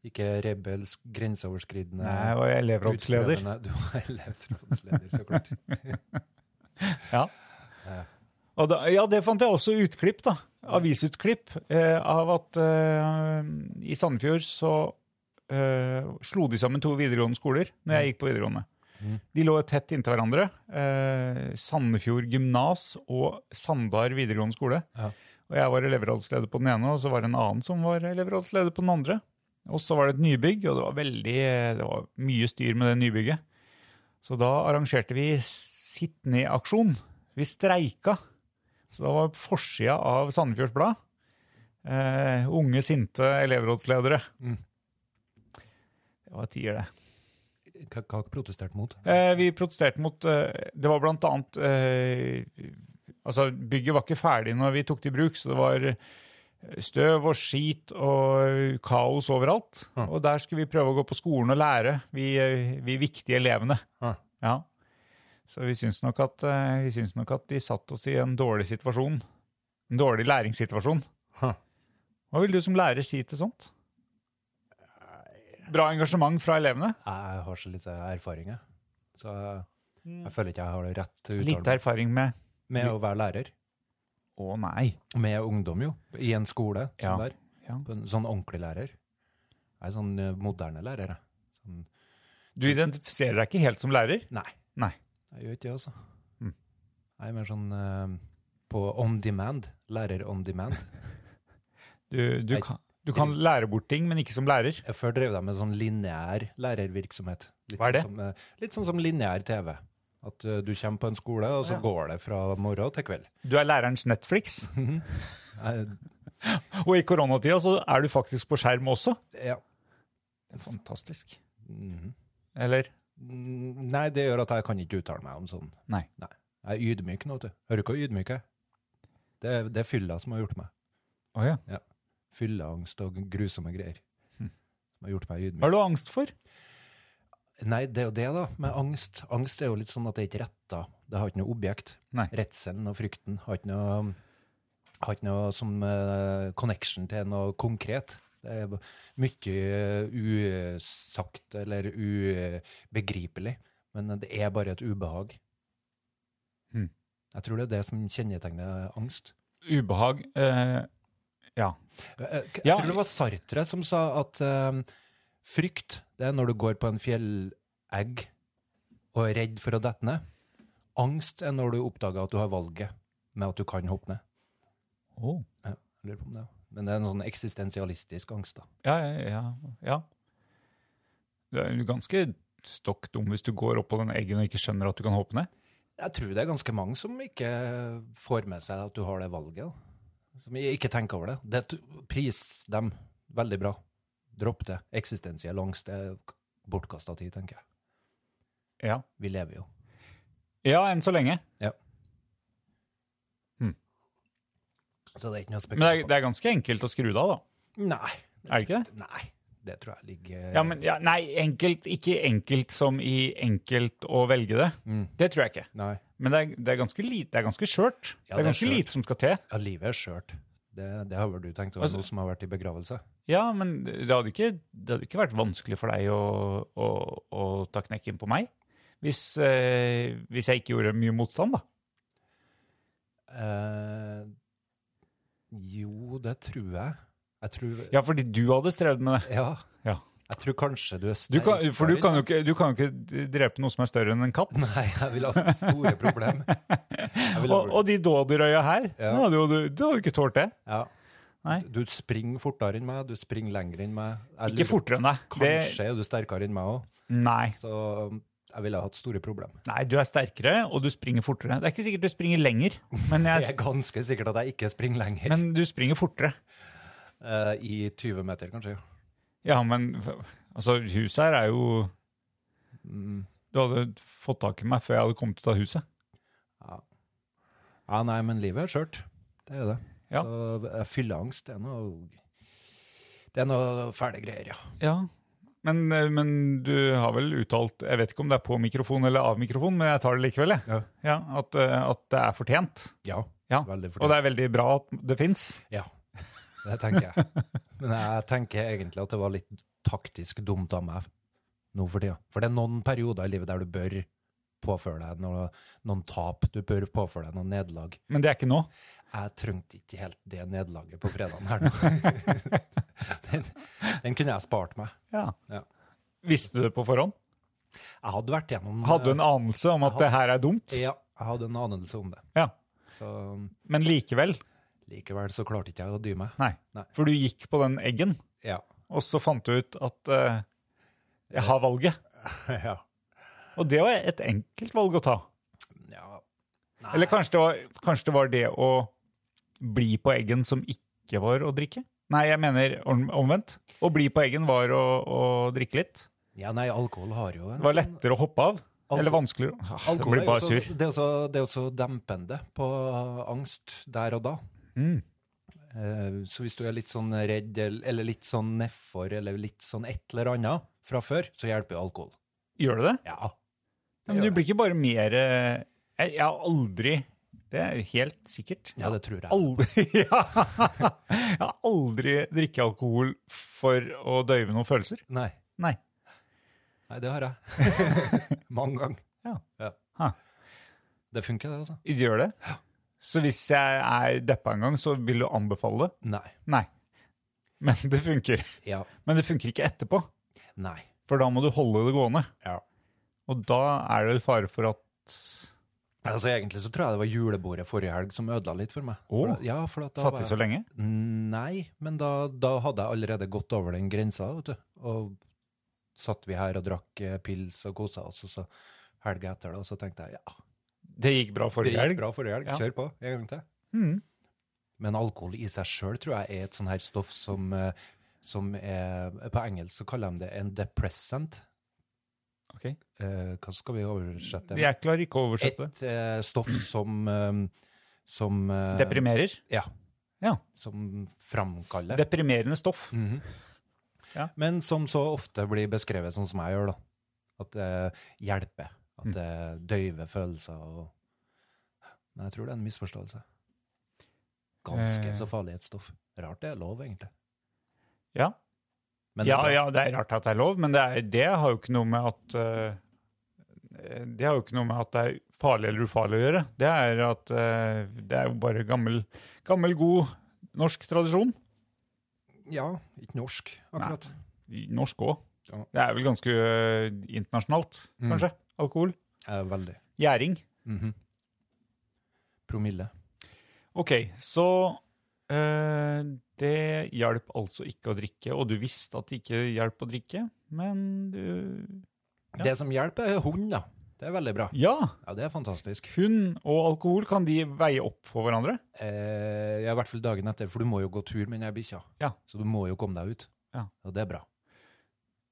Speaker 5: ikke rebelsk, grenseoverskridende
Speaker 4: Nei, jeg var elevrådsleder.
Speaker 5: utprøvende- Du var elevrådsleder, så klart.
Speaker 4: Ja. Og da, ja, det fant jeg også utklipp, da. Avisutklipp eh, av at eh, i Sandefjord så eh, slo de sammen to videregående skoler når jeg gikk på videregående.
Speaker 5: Mm.
Speaker 4: De lå tett inntil hverandre. Eh, Sandefjord gymnas og Sandar videregående skole.
Speaker 5: Ja.
Speaker 4: Og jeg var elevrådsleder på den ene, og så var det en annen som var elevrådsleder på den andre. Og så var det et nybygg, og det var, veldig, eh, det var mye styr med det nybygget. Så da arrangerte vi sitt ned-aksjon. Vi streika. Så da var forsida av Sandefjords Blad eh, unge, sinte elevrådsledere.
Speaker 5: Mm.
Speaker 4: Det var tider, det.
Speaker 5: Hva, hva protesterte mot?
Speaker 4: Eh, vi protesterte mot eh, Det var blant annet eh, Altså, bygget var ikke ferdig når vi tok det i bruk, så det var eh, støv og skit og kaos overalt.
Speaker 5: Ja.
Speaker 4: Og der skulle vi prøve å gå på skolen og lære, vi, eh, vi viktige elevene.
Speaker 5: Ja.
Speaker 4: Ja. Så vi syns, nok at, eh, vi syns nok at de satt oss i en dårlig situasjon. En dårlig læringssituasjon.
Speaker 5: Ha.
Speaker 4: Hva vil du som lærer si til sånt? Bra engasjement fra elevene?
Speaker 5: Jeg har så lite erfaring, jeg. Så jeg, jeg føler ikke jeg har det rett til å uttale
Speaker 4: Lite
Speaker 5: meg.
Speaker 4: erfaring med
Speaker 5: Med å være lærer.
Speaker 4: Å nei.
Speaker 5: Med ungdom, jo. I en skole
Speaker 4: Ja.
Speaker 5: som der.
Speaker 4: Ja.
Speaker 5: På en sånn ordentlig lærer. Jeg er sånn eh, moderne lærer, jeg. Sånn,
Speaker 4: Du identifiserer deg ikke helt som lærer?
Speaker 5: nei.
Speaker 4: Nei.
Speaker 5: Jeg gjør ikke det, altså.
Speaker 4: Mm.
Speaker 5: Jeg er mer sånn eh, på on demand. Lærer on demand.
Speaker 4: Du, du,
Speaker 5: Nei.
Speaker 4: kan, du kan lære bort ting, men ikke som lærer.
Speaker 5: Jeg før drev de med sånn lineær lærervirksomhet. Litt
Speaker 4: Hva er det?
Speaker 5: Sånn som, eh, litt sånn som lineær TV. At eh, du kommer på en skole, og så
Speaker 4: Ja.
Speaker 5: går det fra morgen til kveld.
Speaker 4: Du er lærerens Netflix,
Speaker 5: Jeg,
Speaker 4: og i koronatida så er du faktisk på skjerm også.
Speaker 5: Eh, ja.
Speaker 4: Det er fantastisk.
Speaker 5: Mhm.
Speaker 4: Eller?
Speaker 5: Mm, Nei, det gjør at jeg kan ikke uttale meg om sånn.
Speaker 4: Nei.
Speaker 5: Jeg er ydmyk nå, vet du. Hører du hvor ydmyk jeg er? Det, er- det er fylla som har gjort meg.
Speaker 4: Å ja.
Speaker 5: Fylleangst og grusomme greier.
Speaker 4: Hm.
Speaker 5: Som har gjort meg ydmyk.
Speaker 4: Hva har du angst for?
Speaker 5: Nei, det er jo det, da, med angst. Angst er jo litt sånn at det er ikke retta. Det har ikke noe objekt.
Speaker 4: Nei.
Speaker 5: Redselen og frykten har ikke noe, har ikke noe som eh, connection til noe konkret. Det er b- mye eh, usagt eller ubegripelig, men det er bare et ubehag.
Speaker 4: Hmm.
Speaker 5: Jeg tror det er det som kjennetegner angst.
Speaker 4: Ubehag. Eh, ja.
Speaker 5: Jeg, jeg, eh, jeg
Speaker 4: Ja.
Speaker 5: tror det var Sartre som sa at eh, frykt, det er når du går på en fjellegg og er redd for å dette ned. Angst er når du oppdager at du har valget med at du kan hoppe ned.
Speaker 4: Oh.
Speaker 5: Ja, jeg lurer på om det. var- Men det er en sånn eksistensialistisk angst, da.
Speaker 4: Ja, ja, ja, ja. Du er jo ganske stokk dum hvis du går opp på den eggen og ikke skjønner at du kan hoppe ned.
Speaker 5: Jeg tror det er ganske mange som ikke får med seg at du har det valget. Da. Som ikke tenker over det. det t- pris dem veldig bra. Dropp det. Eksistensiell angst er bortkasta tid, tenker jeg.
Speaker 4: Ja,
Speaker 5: Vi lever jo.
Speaker 4: ja enn så lenge.
Speaker 5: Så det er ikke noe å
Speaker 4: Men det er,
Speaker 5: spekulere på.
Speaker 4: det er ganske enkelt å skru det av, da.
Speaker 5: Nei.
Speaker 4: Er det ikke det?
Speaker 5: Nei. Det tror jeg ligger
Speaker 4: Ja, men, ja, nei, enkelt, ikke enkelt som i enkelt å velge det.
Speaker 5: Mm.
Speaker 4: Det tror jeg ikke.
Speaker 5: Nei.
Speaker 4: Men det er, det er ganske lite, det er ganske skjørt. det
Speaker 5: Ja, det
Speaker 4: er
Speaker 5: er
Speaker 4: ganske
Speaker 5: skjørt.
Speaker 4: lite som skal til.
Speaker 5: Ja, livet er skjørt. Det, det har vel du tenkt over,
Speaker 4: Altså-
Speaker 5: noe som har vært i begravelse?
Speaker 4: Ja, men det hadde ikke, det hadde ikke vært vanskelig for deg å, å, å ta knekken på meg. Hvis, eh, hvis jeg ikke gjorde mye motstand, da.
Speaker 5: Eh, jo, det tror jeg. Jeg tror
Speaker 4: Ja, fordi du hadde strevd med det.
Speaker 5: Ja.
Speaker 4: Ja.
Speaker 5: Jeg tror kanskje du er
Speaker 4: Du kan, for du
Speaker 5: sterkere.
Speaker 4: kan, jo ikke, du kan jo ikke drepe noe som er større enn en katt.
Speaker 5: Nei, jeg vil ha fått store problemer. Jeg vil ha
Speaker 4: Og, og de dådyrøya her,
Speaker 5: Ja.
Speaker 4: nå hadde jo du, du hadde jo ikke tålt det.
Speaker 5: ja.
Speaker 4: Nei.
Speaker 5: Du springer fortere enn meg, du springer lenger enn meg. Jeg
Speaker 4: Ikke
Speaker 5: lurer-
Speaker 4: fortere enn deg. Det,
Speaker 5: Kanskje er du sterkere enn meg òg.
Speaker 4: nei.
Speaker 5: Så jeg Jeg ville hatt store problemer.
Speaker 4: Nei, du er sterkere, og du springer fortere. Det er ikke sikkert du springer lenger, men,
Speaker 5: Jeg er
Speaker 4: jeg,
Speaker 5: ganske sikkert at jeg ikke springer lenger.
Speaker 4: men du springer fortere.
Speaker 5: Eh, I 20 meter, kanskje.
Speaker 4: Ja, men altså, huset her er jo
Speaker 5: Mm.
Speaker 4: Du hadde fått tak i meg før jeg hadde kommet ut av huset.
Speaker 5: Ja, nei, men livet er skjørt. Det er det.
Speaker 4: Ja.
Speaker 5: Så eh, fylleangst, det er noe Det er noe fæle greier, ja.
Speaker 4: Ja. Men, eh, men du har vel uttalt Jeg vet ikke om det er på mikrofon eller av mikrofon, men jeg tar det likevel, jeg.
Speaker 5: Ja.
Speaker 4: at, eh, at det er fortjent.
Speaker 5: Ja,
Speaker 4: Ja.
Speaker 5: veldig
Speaker 4: Og det er veldig bra at det fins.
Speaker 5: Ja, det tenker jeg. Men jeg tenker egentlig at det var litt taktisk dumt av meg nå for tida. For det er noen perioder i livet der du bør påføre deg noe, noen tap, du bør påføre deg noen nederlag.
Speaker 4: Men det er ikke nå.
Speaker 5: Jeg trengte ikke helt det nederlaget på fredagen her nå. den, den kunne jeg spart meg. Ja.
Speaker 4: Visste du det på forhånd?
Speaker 5: Jeg hadde vært gjennom
Speaker 4: Hadde du en anelse om at
Speaker 5: Jeg
Speaker 4: det her er dumt?
Speaker 5: Ja, jeg hadde en anelse om det.
Speaker 4: Ja.
Speaker 5: Så
Speaker 4: Men likevel.
Speaker 5: likevel så klarte ikke jeg å dy meg.
Speaker 4: Nei.
Speaker 5: Nei.
Speaker 4: For du gikk på den eggen,
Speaker 5: Ja.
Speaker 4: og så fant du ut at eh, jeg har valget.
Speaker 5: ja.
Speaker 4: Og det var et enkelt valg å ta.
Speaker 5: ja.
Speaker 4: Eller kanskje det, var, kanskje det var det å bli på eggen som ikke var å drikke? Nei, jeg mener om- omvendt. Å bli på eggen var å, å drikke litt.
Speaker 5: Ja, nei, alkohol har jo en
Speaker 4: Det var
Speaker 5: sånn-
Speaker 4: lettere å hoppe av.
Speaker 5: Alko-
Speaker 4: Eller vanskeligere. Ah, Jeg
Speaker 5: Alkohol
Speaker 4: blir
Speaker 5: er jo
Speaker 4: bare
Speaker 5: så,
Speaker 4: sur.
Speaker 5: det er også, det er også dempende på eh, angst der og da.
Speaker 4: Mm.
Speaker 5: Eh, Så hvis du er litt sånn redd, el- eller litt sånn nedfor, eller litt sånn et eller annet fra før, så hjelper jo alkohol.
Speaker 4: Gjør det det?
Speaker 5: Ja.
Speaker 4: Ja, Men du blir ikke bare mer eh, Jeg, jeg har aldri Det er helt sikkert.
Speaker 5: Ja, det tror jeg.
Speaker 4: Aldri, ja. Jeg har aldri drikket alkohol for å døyve noen følelser.
Speaker 5: Nei,
Speaker 4: Nei.
Speaker 5: nei, det har jeg. Mange ganger.
Speaker 4: Ja. Ha.
Speaker 5: ja. Det funker, det, altså.
Speaker 4: Du gjør det? Så hvis jeg er deppa en gang, så vil du anbefale det?
Speaker 5: Nei.
Speaker 4: Nei. Men det funker.
Speaker 5: Ja.
Speaker 4: Men det funker ikke etterpå,
Speaker 5: Nei.
Speaker 4: for da må du holde det gående.
Speaker 5: Ja.
Speaker 4: Og da er det vel fare for at
Speaker 5: Altså, egentlig så tror jeg det var julebordet forrige helg som ødela litt for meg.
Speaker 4: Å.
Speaker 5: For, ja, for at da
Speaker 4: Satt
Speaker 5: var
Speaker 4: i
Speaker 5: jeg-
Speaker 4: så lenge?
Speaker 5: Nei, men da, da hadde jeg allerede gått over den grensa, vet du. Og satt vi her og drakk eh, pils og kosa oss, og så helga etter det, og så tenkte jeg ja,
Speaker 4: Det gikk bra
Speaker 5: det
Speaker 4: forrige
Speaker 5: gikk
Speaker 4: helg.
Speaker 5: bra forrige helg,
Speaker 4: Ja.
Speaker 5: kjør på en gang til.
Speaker 4: Mm.
Speaker 5: Men alkohol i seg sjøl tror jeg er et sånn her stoff som, eh, som er På engelsk så kaller de det en depressant.
Speaker 4: Ok.
Speaker 5: Eh, hva skal vi oversette det med?
Speaker 4: Jeg klarer ikke å oversette det.
Speaker 5: Et eh, stoff som, eh, som eh,
Speaker 4: Deprimerer.
Speaker 5: Ja.
Speaker 4: Ja.
Speaker 5: Som framkaller
Speaker 4: Deprimerende stoff.
Speaker 5: Mhm.
Speaker 4: Ja.
Speaker 5: Men som så ofte blir beskrevet sånn som jeg gjør, da. At det hjelper. At
Speaker 4: Mm.
Speaker 5: det døyver følelser og Men jeg tror det er en misforståelse. Ganske
Speaker 4: Eh.
Speaker 5: så farlig et stoff. Rart det er lov, egentlig.
Speaker 4: Ja.
Speaker 5: Men
Speaker 4: ja,
Speaker 5: det er bra.
Speaker 4: ja, det er rart at det er lov, men det, er, det har jo ikke noe med at eh, Det har jo ikke noe med at det er farlig eller ufarlig å gjøre. Det er at eh, det er jo bare gammel, gammel god norsk tradisjon.
Speaker 5: ja, ikke norsk, akkurat.
Speaker 4: Norsk òg.
Speaker 5: Ja.
Speaker 4: Det er vel ganske eh, internasjonalt,
Speaker 5: Mm.
Speaker 4: kanskje. Alkohol.
Speaker 5: Eh, veldig.
Speaker 4: Gjæring.
Speaker 5: Mhm. Promille.
Speaker 4: OK, så eh, det hjalp altså ikke å drikke, og du visste at det ikke hjalp å drikke, men du Ja.
Speaker 5: Det som hjelper, er hund, da. Det er veldig bra.
Speaker 4: Ja!
Speaker 5: Ja, det er fantastisk.
Speaker 4: Hund og alkohol, kan de veie opp for hverandre?
Speaker 5: Eh, ja, I hvert fall dagen etter, for du må jo gå tur med den her bikkja.
Speaker 4: Ja.
Speaker 5: Så du må jo komme deg ut.
Speaker 4: Ja.
Speaker 5: Og det er bra.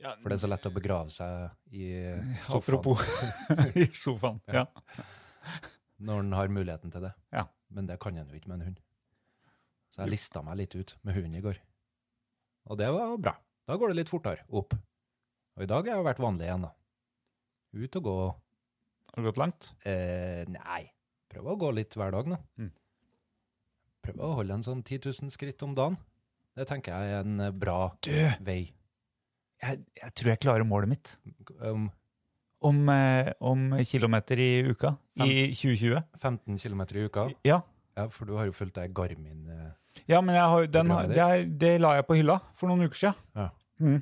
Speaker 4: Ja,
Speaker 5: For det er så lett å begrave seg i eh, sofaen
Speaker 4: Apropos i sofaen. Ja.
Speaker 5: når en har muligheten til det.
Speaker 4: Ja.
Speaker 5: Men det kan en jo ikke med en hund. Så jeg lista meg litt ut med hunden i går. Og det var bra. Da går det litt fortere opp. Og i dag har jeg vært vanlig igjen, da. Ut og gå
Speaker 4: Har du gått langt?
Speaker 5: eh, Nei, prøv å gå litt hver dag, nå.
Speaker 4: Mm.
Speaker 5: Prøv å holde en sånn 10 000 skritt om dagen. Det tenker jeg er en eh, bra
Speaker 4: Du,
Speaker 5: vei.
Speaker 4: jeg, jeg tror jeg klarer målet mitt.
Speaker 5: Um,
Speaker 4: Om, eh, om kilometer i uka i 2020.
Speaker 5: 15 km i uka.
Speaker 4: Ja,
Speaker 5: Ja, for du har jo fulgt deg Garmin eh,
Speaker 4: ja men jeg har, den, har-
Speaker 5: Programmet
Speaker 4: det, er, det la jeg på hylla for noen uker siden.
Speaker 5: Ja.
Speaker 4: Mm.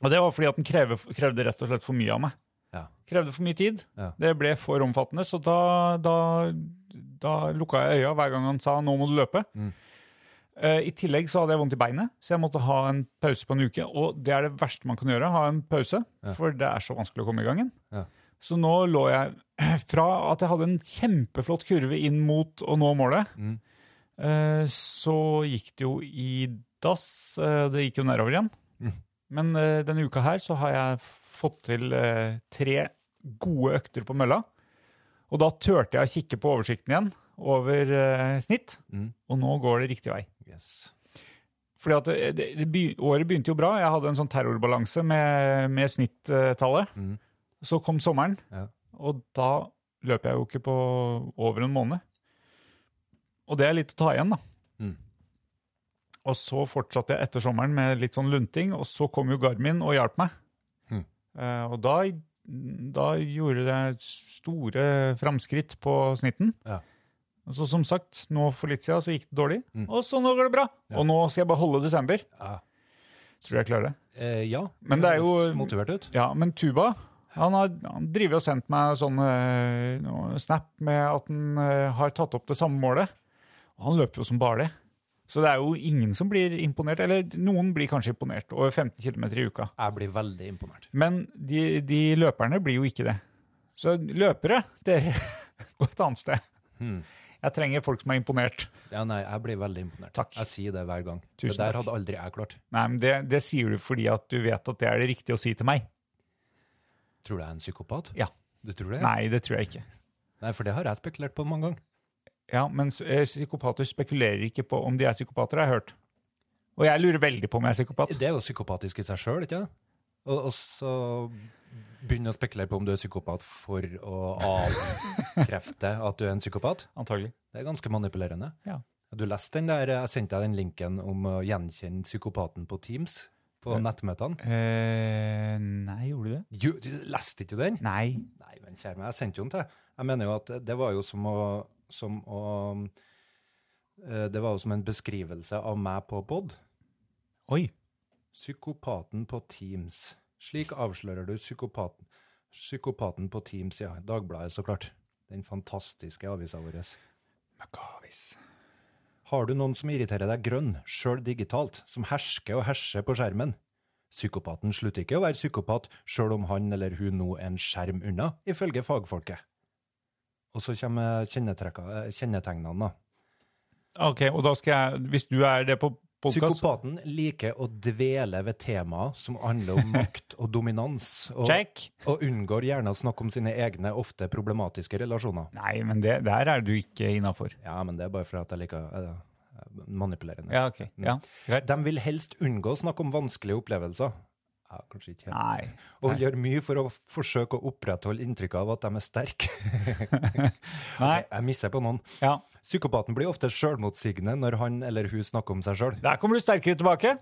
Speaker 4: Og det var fordi at den kreve, krevde rett og slett for mye av meg.
Speaker 5: Ja.
Speaker 4: Krevde for mye tid.
Speaker 5: Ja.
Speaker 4: Det ble for omfattende, så da, da, da lukka jeg øya hver gang han sa 'nå må du løpe'.
Speaker 5: Mm.
Speaker 4: Eh, I tillegg så hadde jeg vondt i beinet, så jeg måtte ha en pause på en uke. Og det er det verste man kan gjøre, ha en pause,
Speaker 5: Ja.
Speaker 4: for det er så vanskelig å komme i gang igjen.
Speaker 5: Ja.
Speaker 4: Så nå lå jeg fra at jeg hadde en kjempeflott kurve inn mot å nå målet,
Speaker 5: Mm.
Speaker 4: eh, så gikk det jo i dass. eh, Det gikk jo nedover igjen.
Speaker 5: Mm.
Speaker 4: Men eh, denne uka her så har jeg fått til eh, tre gode økter på mølla. Og da turte jeg å kikke på oversikten igjen over eh, snitt,
Speaker 5: Mm.
Speaker 4: og nå går det riktig vei.
Speaker 5: Yes.
Speaker 4: Fordi at det, det, det, begy- Året begynte jo bra. Jeg hadde en sånn terrorbalanse med, med snittallet.
Speaker 5: Mm.
Speaker 4: Så kom sommeren,
Speaker 5: Ja.
Speaker 4: og da løp jeg jo ikke på over en måned. Og det er litt å ta igjen, da.
Speaker 5: Mm.
Speaker 4: Og så fortsatte jeg etter sommeren med litt sånn lunting, og så kom jo Garmin og hjalp meg.
Speaker 5: Mm.
Speaker 4: Eh, og da, da gjorde jeg store framskritt på snitten.
Speaker 5: Ja.
Speaker 4: Og så som sagt, nå for litt siden så gikk det dårlig,
Speaker 5: Mm.
Speaker 4: og så nå går det bra.
Speaker 5: Ja.
Speaker 4: Og nå skal jeg bare holde desember.
Speaker 5: Ja.
Speaker 4: Tror du jeg klarer det?
Speaker 5: Eh, ja.
Speaker 4: Men det er jo-
Speaker 5: Høres motivert ut.
Speaker 4: Ja, men Tuba han har han driver og sendt meg sånn eh, noe snap med at han eh, har tatt opp det samme målet. Og han løper jo som bare det. Så det er jo ingen som blir imponert. Eller noen blir kanskje imponert over 15 km i uka.
Speaker 5: Jeg blir veldig imponert.
Speaker 4: Men de, de løperne blir jo ikke det. Så løpere, dere gå et annet sted.
Speaker 5: Hmm.
Speaker 4: Jeg trenger folk som er imponert.
Speaker 5: Ja, nei, jeg blir veldig imponert.
Speaker 4: Takk.
Speaker 5: Jeg sier det hver gang.
Speaker 4: Tusen
Speaker 5: det der
Speaker 4: takk.
Speaker 5: hadde aldri jeg klart.
Speaker 4: Nei, men det, det sier du fordi at du vet at det er det riktige å si til meg.
Speaker 5: Tror du jeg er en psykopat?
Speaker 4: Ja.
Speaker 5: Du tror det?
Speaker 4: Nei, det tror jeg ikke.
Speaker 5: Nei, for det har jeg spekulert på mange ganger.
Speaker 4: Ja, men s- eh, psykopater spekulerer ikke på om de er psykopater, har jeg hørt. Og jeg lurer veldig på om jeg er psykopat.
Speaker 5: Det er jo psykopatisk i seg sjøl, ikke sant? Og, og så begynne å spekulere på om du er psykopat for å avkrefte at du er en psykopat.
Speaker 4: Antagelig.
Speaker 5: Det er ganske manipulerende.
Speaker 4: Ja.
Speaker 5: Du leste den der, jeg sendte deg den linken om å gjenkjenne psykopaten på Teams på nettmøtene.
Speaker 4: Eh, nei, gjorde du det?
Speaker 5: Jo, du leste ikke den?
Speaker 4: Nei.
Speaker 5: Nei, men kjære meg, jeg sendte jo den til. deg. Jeg mener jo at det var jo som å, som å eh, Det var jo som en beskrivelse av meg på pod.
Speaker 4: Oi.
Speaker 5: Psykopaten på Teams. Slik avslører du psykopaten. Psykopaten på Teams, ja. Dagbladet, så klart. Den fantastiske avisa vår.
Speaker 4: Makavis.
Speaker 5: Har du noen som irriterer deg grønn, sjøl digitalt, som hersker og herser på skjermen? Psykopaten slutter ikke å være psykopat sjøl om han eller hun nå er en skjerm unna, ifølge fagfolket. Og så kommer kjennetrekka- eh, kjennetegnene. da.
Speaker 4: Ok, og da skal jeg, hvis du er det på podcast,
Speaker 5: Psykopaten liker å dvele ved temaer som handler om makt og dominans, og,
Speaker 4: check.
Speaker 5: og unngår gjerne å snakke om sine egne, ofte problematiske relasjoner.
Speaker 4: Nei, men det, der er du ikke innenfor.
Speaker 5: Ja, men det er bare fordi at jeg liker eh, manipulerende.
Speaker 4: Ja, ok. Ja, greit.
Speaker 5: De vil helst unngå å snakke om vanskelige opplevelser. Ja, kanskje ikke helt.
Speaker 4: Nei.
Speaker 5: Og gjør mye for å forsøke å opprettholde inntrykket av at de er sterke.
Speaker 4: Nei,
Speaker 5: Jeg misser på noen.
Speaker 4: ja.
Speaker 5: Psykopaten blir ofte sjølmotsigende når han eller hun snakker om seg sjøl.
Speaker 4: Der kommer du sterkere tilbake.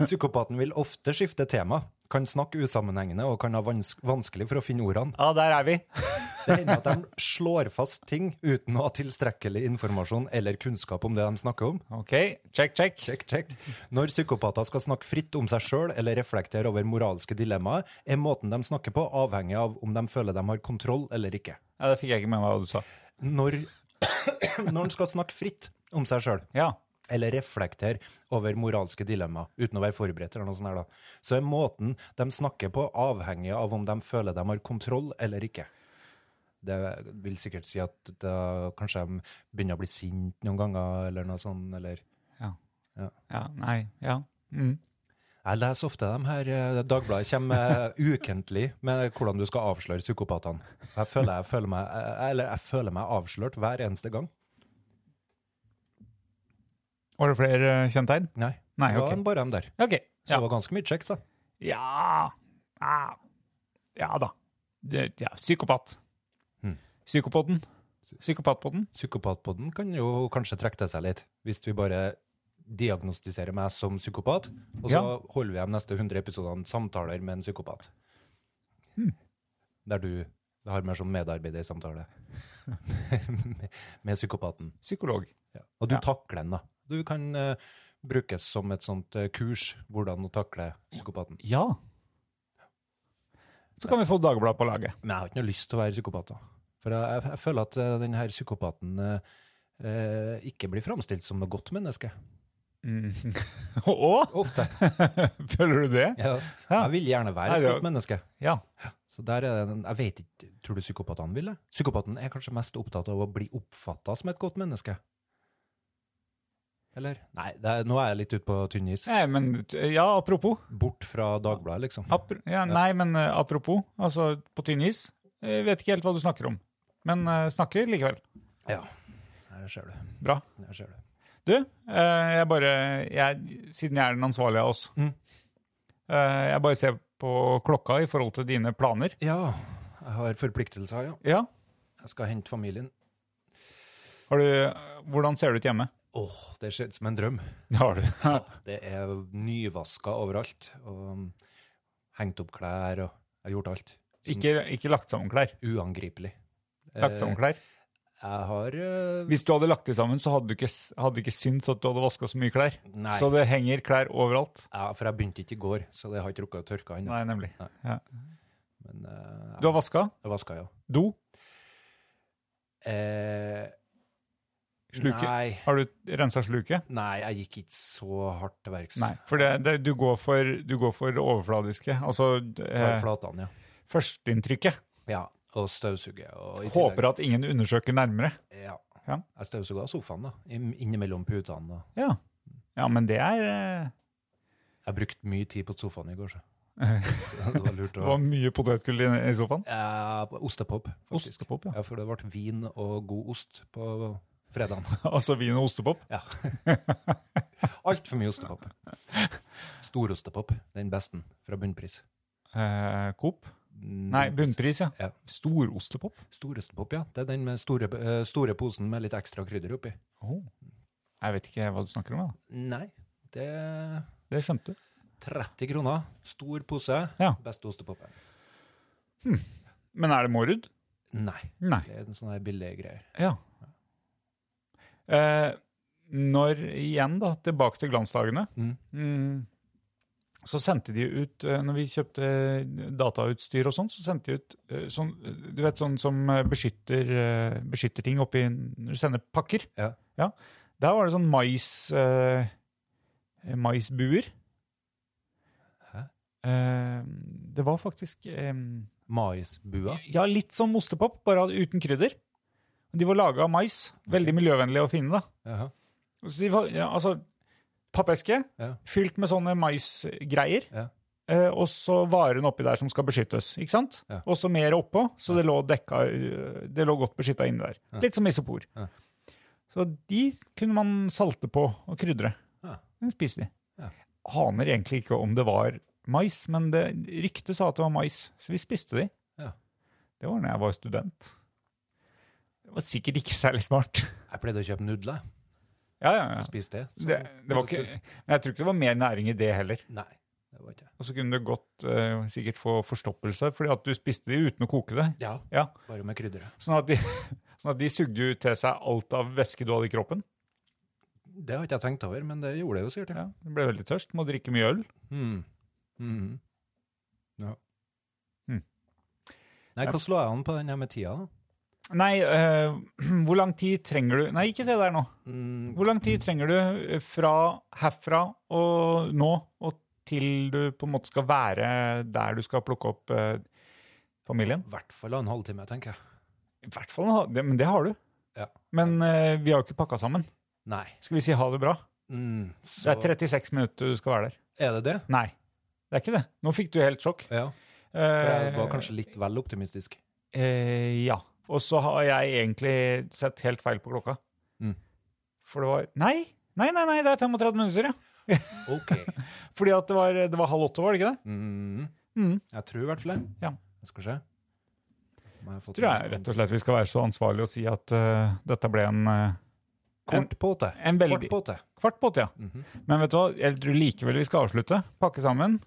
Speaker 5: Psykopaten vil ofte skifte tema, kan snakke usammenhengende og kan ha vans vanskelig for å finne ordene.
Speaker 4: Ja, der er vi.
Speaker 5: Det hender at de slår fast ting uten å ha tilstrekkelig informasjon eller kunnskap om det de snakker om.
Speaker 4: Ok, check, check.
Speaker 5: Check, check. Når psykopater skal snakke fritt om seg sjøl eller reflektere over moralske dilemmaer, er måten de snakker på avhengig av om de føler de har kontroll eller ikke.
Speaker 4: Ja, det fikk jeg ikke med meg hva du sa.
Speaker 5: Når, når en skal snakke fritt om seg sjøl
Speaker 4: Ja,
Speaker 5: eller reflektere over moralske dilemmaer uten å være forberedt, eller noe sånt her da, så er måten de snakker på avhengig av om de føler de har kontroll eller ikke. Det vil sikkert si at da kanskje de begynner å bli sint noen ganger, eller noe sånt, eller
Speaker 4: ja, nei, ja. Mm.
Speaker 5: Jeg leser ofte dem her. eh, Dagbladet kommer eh, ukentlig med hvordan du skal avsløre psykopatene. Jeg føler, jeg, føler meg, eh, eller jeg føler meg avslørt hver eneste gang.
Speaker 4: Var det flere eh, kjennetegn?
Speaker 5: Nei,
Speaker 4: Nei,
Speaker 5: det var
Speaker 4: ok.
Speaker 5: bare dem der.
Speaker 4: Ok,
Speaker 5: Så det var ganske mye kjekt, da.
Speaker 4: Ja Ja, ja da. Det, ja, psykopat. Hmm.
Speaker 5: Mm.
Speaker 4: Psykopoden. Psykopatpodden.
Speaker 5: Psykopatpodden kan jo kanskje trekke til seg litt, hvis vi bare diagnostiserer meg som psykopat, og så
Speaker 4: Ja.
Speaker 5: holder vi de neste 100 episodene samtaler med en psykopat.
Speaker 4: Hmm.
Speaker 5: Der du har mer som medarbeidersamtale med psykopaten.
Speaker 4: Psykolog.
Speaker 5: Ja. Og du
Speaker 4: Ja.
Speaker 5: takler den, da. Du kan eh, brukes som et sånt eh, kurs, hvordan å takle psykopaten.
Speaker 4: Ja. Så kan vi få Dagbladet på laget.
Speaker 5: Men jeg har ikke noe lyst til å være psykopat, da. For jeg, jeg, jeg føler at eh, den her psykopaten eh, eh, ikke blir framstilt som et godt menneske.
Speaker 4: Mm. Å?
Speaker 5: Ofte.
Speaker 4: Føler du det?
Speaker 5: Ja.
Speaker 4: Ja.
Speaker 5: Jeg vil gjerne være
Speaker 4: Nei,
Speaker 5: et
Speaker 4: det er-
Speaker 5: godt menneske.
Speaker 4: Ja.
Speaker 5: Så der er det en, jeg vet ikke, Tror du psykopatene vil det? Psykopaten er kanskje mest opptatt av å bli oppfatta som et godt menneske. Eller? Nei, det er, nå er jeg litt ute på tynn is.
Speaker 4: Nei, men ja, apropos.
Speaker 5: Bort fra Dagbladet, liksom.
Speaker 4: Apro ja, nei, men eh, apropos, altså på tynn is. Jeg vet ikke helt hva du snakker om, men eh, snakker likevel.
Speaker 5: Ja. Her ser du.
Speaker 4: Bra.
Speaker 5: Her ser du.
Speaker 4: Du, eh, jeg bare jeg, Siden jeg er den ansvarlige av oss,
Speaker 5: Mm.
Speaker 4: eh, jeg bare ser på klokka i forhold til dine planer.
Speaker 5: Ja, jeg har forpliktelser, ja.
Speaker 4: Ja.
Speaker 5: Jeg skal hente familien.
Speaker 4: Har du, hvordan ser det ut hjemme?
Speaker 5: Åh, det ser ut som en drøm.
Speaker 4: Det har du.
Speaker 5: Det er nyvaska overalt. Og um, hengt opp klær og Jeg har gjort alt. Som
Speaker 4: ikke, ikke lagt sammen klær.
Speaker 5: Uangripelig.
Speaker 4: Lagt sammen
Speaker 5: Eh,
Speaker 4: klær.
Speaker 5: Jeg har eh,
Speaker 4: Hvis du hadde lagt det sammen, så hadde du ikke, s- hadde ikke syntes at du hadde vaska så mye klær.
Speaker 5: Nei.
Speaker 4: Så det henger klær overalt.
Speaker 5: Ja, for jeg begynte ikke i går, så det har ikke rukket å tørke ennå.
Speaker 4: Nei, nemlig.
Speaker 5: Nei.
Speaker 4: Ja.
Speaker 5: Men eh,
Speaker 4: Du har vaska.
Speaker 5: jeg vaska, ja.
Speaker 4: Do.
Speaker 5: Eh,
Speaker 4: Sluket.
Speaker 5: Nei,
Speaker 4: Har du rensa sluket?
Speaker 5: nei, jeg gikk ikke så hardt til verks.
Speaker 4: Nei, for det, det, du, går for, du går for det overfladiske. Altså
Speaker 5: Tar
Speaker 4: eh,
Speaker 5: flatene, ja.
Speaker 4: førsteinntrykket.
Speaker 5: ja. Og støvsuger. Og i
Speaker 4: Håper at ingen undersøker nærmere.
Speaker 5: tillegg- Ja.
Speaker 4: Ja.
Speaker 5: Jeg støvsuga sofaen, da. inn- Innimellom putene. Og.
Speaker 4: Ja, ja men det er eh,
Speaker 5: Jeg brukte mye tid på sofaen i går, så.
Speaker 4: Eh.
Speaker 5: så det var lurt
Speaker 4: Det var
Speaker 5: å
Speaker 4: mye potetgull i, i sofaen.
Speaker 5: Eh, Ostepop, faktisk.
Speaker 4: Ostepop, ja.
Speaker 5: Ja, for det ble vin og god ost på fredagen.
Speaker 4: Altså vin og ostepop.
Speaker 5: Ja. Altfor mye ostepop. Storostepop, den besten, fra bunnpris.
Speaker 4: Eh, Coop. Nei, bunnpris, ja.
Speaker 5: Ja.
Speaker 4: Storostepop.
Speaker 5: Storostepop, ja. Det er den med store, eh, store posen med litt ekstra krydder oppi.
Speaker 4: Oh. Jeg vet ikke hva du snakker om. Da.
Speaker 5: Nei, det er
Speaker 4: Det skjønte du.
Speaker 5: 30 kroner. Stor pose,
Speaker 4: Ja.
Speaker 5: beste ostepopen.
Speaker 4: Men er det Mårud?
Speaker 5: Nei,
Speaker 4: Nei.
Speaker 5: det er en sånn her billig greier.
Speaker 4: Ja. Eh, når igjen, da, tilbake til glansdagene,
Speaker 5: Mm.
Speaker 4: Mm. så sendte de ut eh, Når vi kjøpte datautstyr og sånn, så sendte de ut eh, sånn Du vet sånn som eh, beskytter, eh, beskytter ting oppi Når du sender pakker.
Speaker 5: Ja.
Speaker 4: Der var det sånn mais eh, maisbuer.
Speaker 5: Hæ?
Speaker 4: Eh, det var faktisk eh,
Speaker 5: Maisbua.
Speaker 4: ja, litt som ostepop, bare uten krydder. De var laga av mais. Veldig miljøvennlige å finne, da.
Speaker 5: Jaha.
Speaker 4: Så de var, ja, altså, pappeske
Speaker 5: Ja.
Speaker 4: fylt med sånne maisgreier.
Speaker 5: Ja.
Speaker 4: Eh, og så varen oppi der som skal beskyttes. ikke sant?
Speaker 5: Ja.
Speaker 4: Og så mer oppå, så det lå, dekka, eh, det lå godt beskytta inni der.
Speaker 5: Ja.
Speaker 4: Litt som isopor.
Speaker 5: Ja.
Speaker 4: Så de kunne man salte på og krydre.
Speaker 5: Ja.
Speaker 4: Den spiste de.
Speaker 5: Ja.
Speaker 4: Aner egentlig ikke om det var mais, men det, ryktet sa at det var mais, så vi spiste de.
Speaker 5: Ja.
Speaker 4: Det var da jeg var student. Det var sikkert ikke særlig smart.
Speaker 5: Jeg pleide å kjøpe nudler.
Speaker 4: Ja, ja, ja.
Speaker 5: Spis det. så-
Speaker 4: Det, det var ikke, men jeg tror ikke det var mer næring i det heller.
Speaker 5: Nei, det var ikke det.
Speaker 4: Og så kunne du godt eh, sikkert få forstoppelse, fordi at du spiste de uten å koke det.
Speaker 5: Ja,
Speaker 4: Ja,
Speaker 5: bare med krydderet.
Speaker 4: Sånn at de, sånn at de sugde jo til seg alt av væske du hadde i kroppen.
Speaker 5: Det har ikke jeg tenkt over, men det gjorde jeg jo sikkert.
Speaker 4: Ja, Du ble veldig tørst, må drikke mye øl.
Speaker 5: Mm. Mhm. Ja.
Speaker 4: Mm.
Speaker 5: Nei, hva slår jeg an på den her med tida, da?
Speaker 4: Nei, eh, hvor lang tid trenger du Nei, ikke se der nå.
Speaker 5: Mm,
Speaker 4: Hvor lang tid trenger du eh, fra herfra og nå og til du på en måte skal være der du skal plukke opp eh, familien?
Speaker 5: I hvert fall en halvtime, tenker jeg.
Speaker 4: I hvert fall, en halv- det, men det har du.
Speaker 5: Ja.
Speaker 4: Men eh, vi har jo ikke pakka sammen.
Speaker 5: Nei.
Speaker 4: Skal vi si ha det bra?
Speaker 5: Mm, så,
Speaker 4: Det er 36 minutter du skal være der.
Speaker 5: Er det det?
Speaker 4: Nei, det er ikke det. Nå fikk du helt sjokk.
Speaker 5: Ja. For jeg var kanskje litt vel optimistisk.
Speaker 4: Eh, ja. Og så har jeg egentlig sett helt feil på klokka.
Speaker 5: Mm.
Speaker 4: For det var Nei! Nei, nei, nei, det er 35 minutter, ja.
Speaker 5: OK.
Speaker 4: Fordi at det var, det var halv åtte, var det ikke det?
Speaker 5: Mm,
Speaker 4: Mm.
Speaker 5: jeg tror i hvert fall det.
Speaker 4: Ja.
Speaker 5: Jeg skal se. Om jeg har fått-
Speaker 4: Tror jeg rett og slett vi skal være så ansvarlige og si at eh, dette ble en eh,
Speaker 5: Kort på åtte.
Speaker 4: en veldig-
Speaker 5: Kort på åtte.
Speaker 4: kvart på åtte, ja.
Speaker 5: Mhm.
Speaker 4: Men vet du hva, jeg tror likevel vi skal avslutte. Pakke sammen.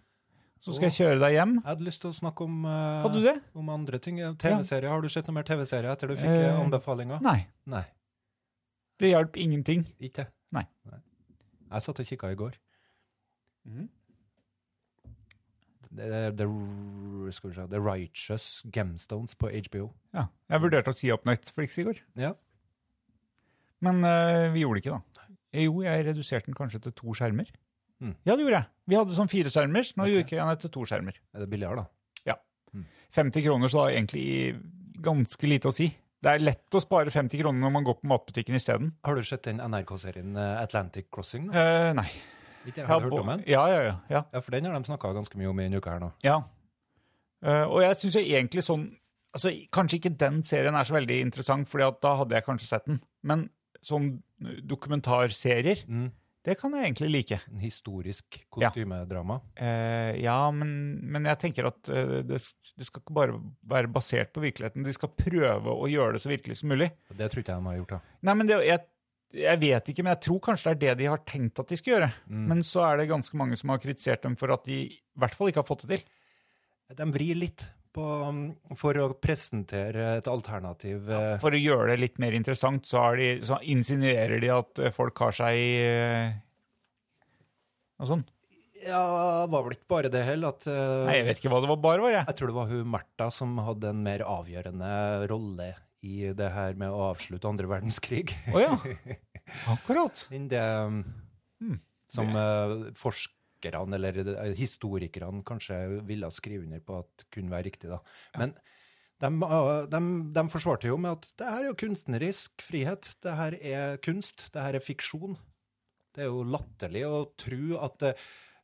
Speaker 4: Så skal jeg kjøre deg hjem.
Speaker 5: Jeg hadde lyst til å snakke om, eh,
Speaker 4: Hadde du det?
Speaker 5: om andre ting. TV-serier. Har du sett noe mer TV-serier etter du fikk
Speaker 4: Eh,
Speaker 5: eh, anbefalinger?
Speaker 4: Nei.
Speaker 5: Nei.
Speaker 4: Det hjalp ingenting.
Speaker 5: Ikke?
Speaker 4: Nei.
Speaker 5: Jeg satt og kikka i går.
Speaker 4: Mhm.
Speaker 5: Det er The, R- skal vi se, The Righteous Gemstones på HBO.
Speaker 4: Ja. Jeg vurderte å si opp Netflix i går,
Speaker 5: Ja.
Speaker 4: men eh, vi gjorde det ikke, da. Eh, Jo, jeg reduserte den kanskje til to skjermer.
Speaker 5: Mm.
Speaker 4: Ja, det gjorde jeg. Vi hadde sånn fire skjermer, så nå gjorde jeg den til to skjermer.
Speaker 5: Er det billigere, da?
Speaker 4: 50 kroner, så det er egentlig ganske lite å si. Det er lett å spare 50 kroner når man går på matbutikken isteden.
Speaker 5: Har du sett den NRK-serien eh, Atlantic Crossing? da?
Speaker 4: Uh, nei.
Speaker 5: Ikke jeg har
Speaker 4: Ja,
Speaker 5: hørt
Speaker 4: på-
Speaker 5: om den.
Speaker 4: Ja, ja, ja. ja.
Speaker 5: Ja, for den har de snakka ganske mye om i denne uka her nå.
Speaker 4: ja. Eh, og jeg syns egentlig sånn altså, Kanskje ikke den serien er så veldig interessant, for da hadde jeg kanskje sett den. Men sånn dokumentarserier,
Speaker 5: Mm.
Speaker 4: det kan jeg egentlig like.
Speaker 5: En historisk
Speaker 4: Ja.
Speaker 5: kostymedrama.
Speaker 4: Eh, ja, men, men jeg tenker at eh, det, det skal ikke bare være basert på virkeligheten. De skal prøve å gjøre det så virkelig som mulig.
Speaker 5: Det tror ikke jeg de har gjort, da.
Speaker 4: Nei, men det, jeg, jeg vet ikke, men jeg tror kanskje det er det de har tenkt at de skal gjøre. Men så er det ganske mange som har kritisert dem for at de i hvert fall ikke har fått det til.
Speaker 5: De vrir litt på, um, for å presentere et alternativ eh,
Speaker 4: For å gjøre det litt mer interessant, så, har de, så insinuerer de at eh, folk har seg i eh, og sånn.
Speaker 5: Ja, det var vel ikke bare det heller. At, eh,
Speaker 4: Nei, jeg vet ikke hva det var, bare var jeg.
Speaker 5: Jeg tror det var hun Märtha som hadde en mer avgjørende rolle i det her med å avslutte andre verdenskrig.
Speaker 4: Å ja, akkurat.
Speaker 5: Enn det um, som eh, forskerne eller eh, historikerne kanskje ville skrive under på at kunne være riktig. da. Men de, eh, de, de forsvarte jo med at det her er jo kunstnerisk frihet. Det her er kunst. Det her er fiksjon. Det er jo latterlig å tro at det,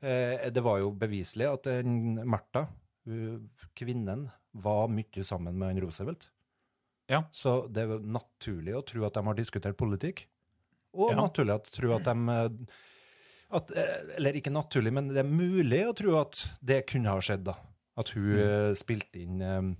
Speaker 5: eh, det var jo beviselig at den Märtha, hun- kvinnen, var mye sammen med han Roosevelt.
Speaker 4: Ja.
Speaker 5: Så det er jo naturlig å tro at de har diskutert politikk. Og
Speaker 4: Ja.
Speaker 5: naturlig å tro at de eh, at, eh, Eller ikke naturlig, men det er mulig å tro at det kunne ha skjedd, da. At hun
Speaker 4: Mm.
Speaker 5: eh, spilte inn eh,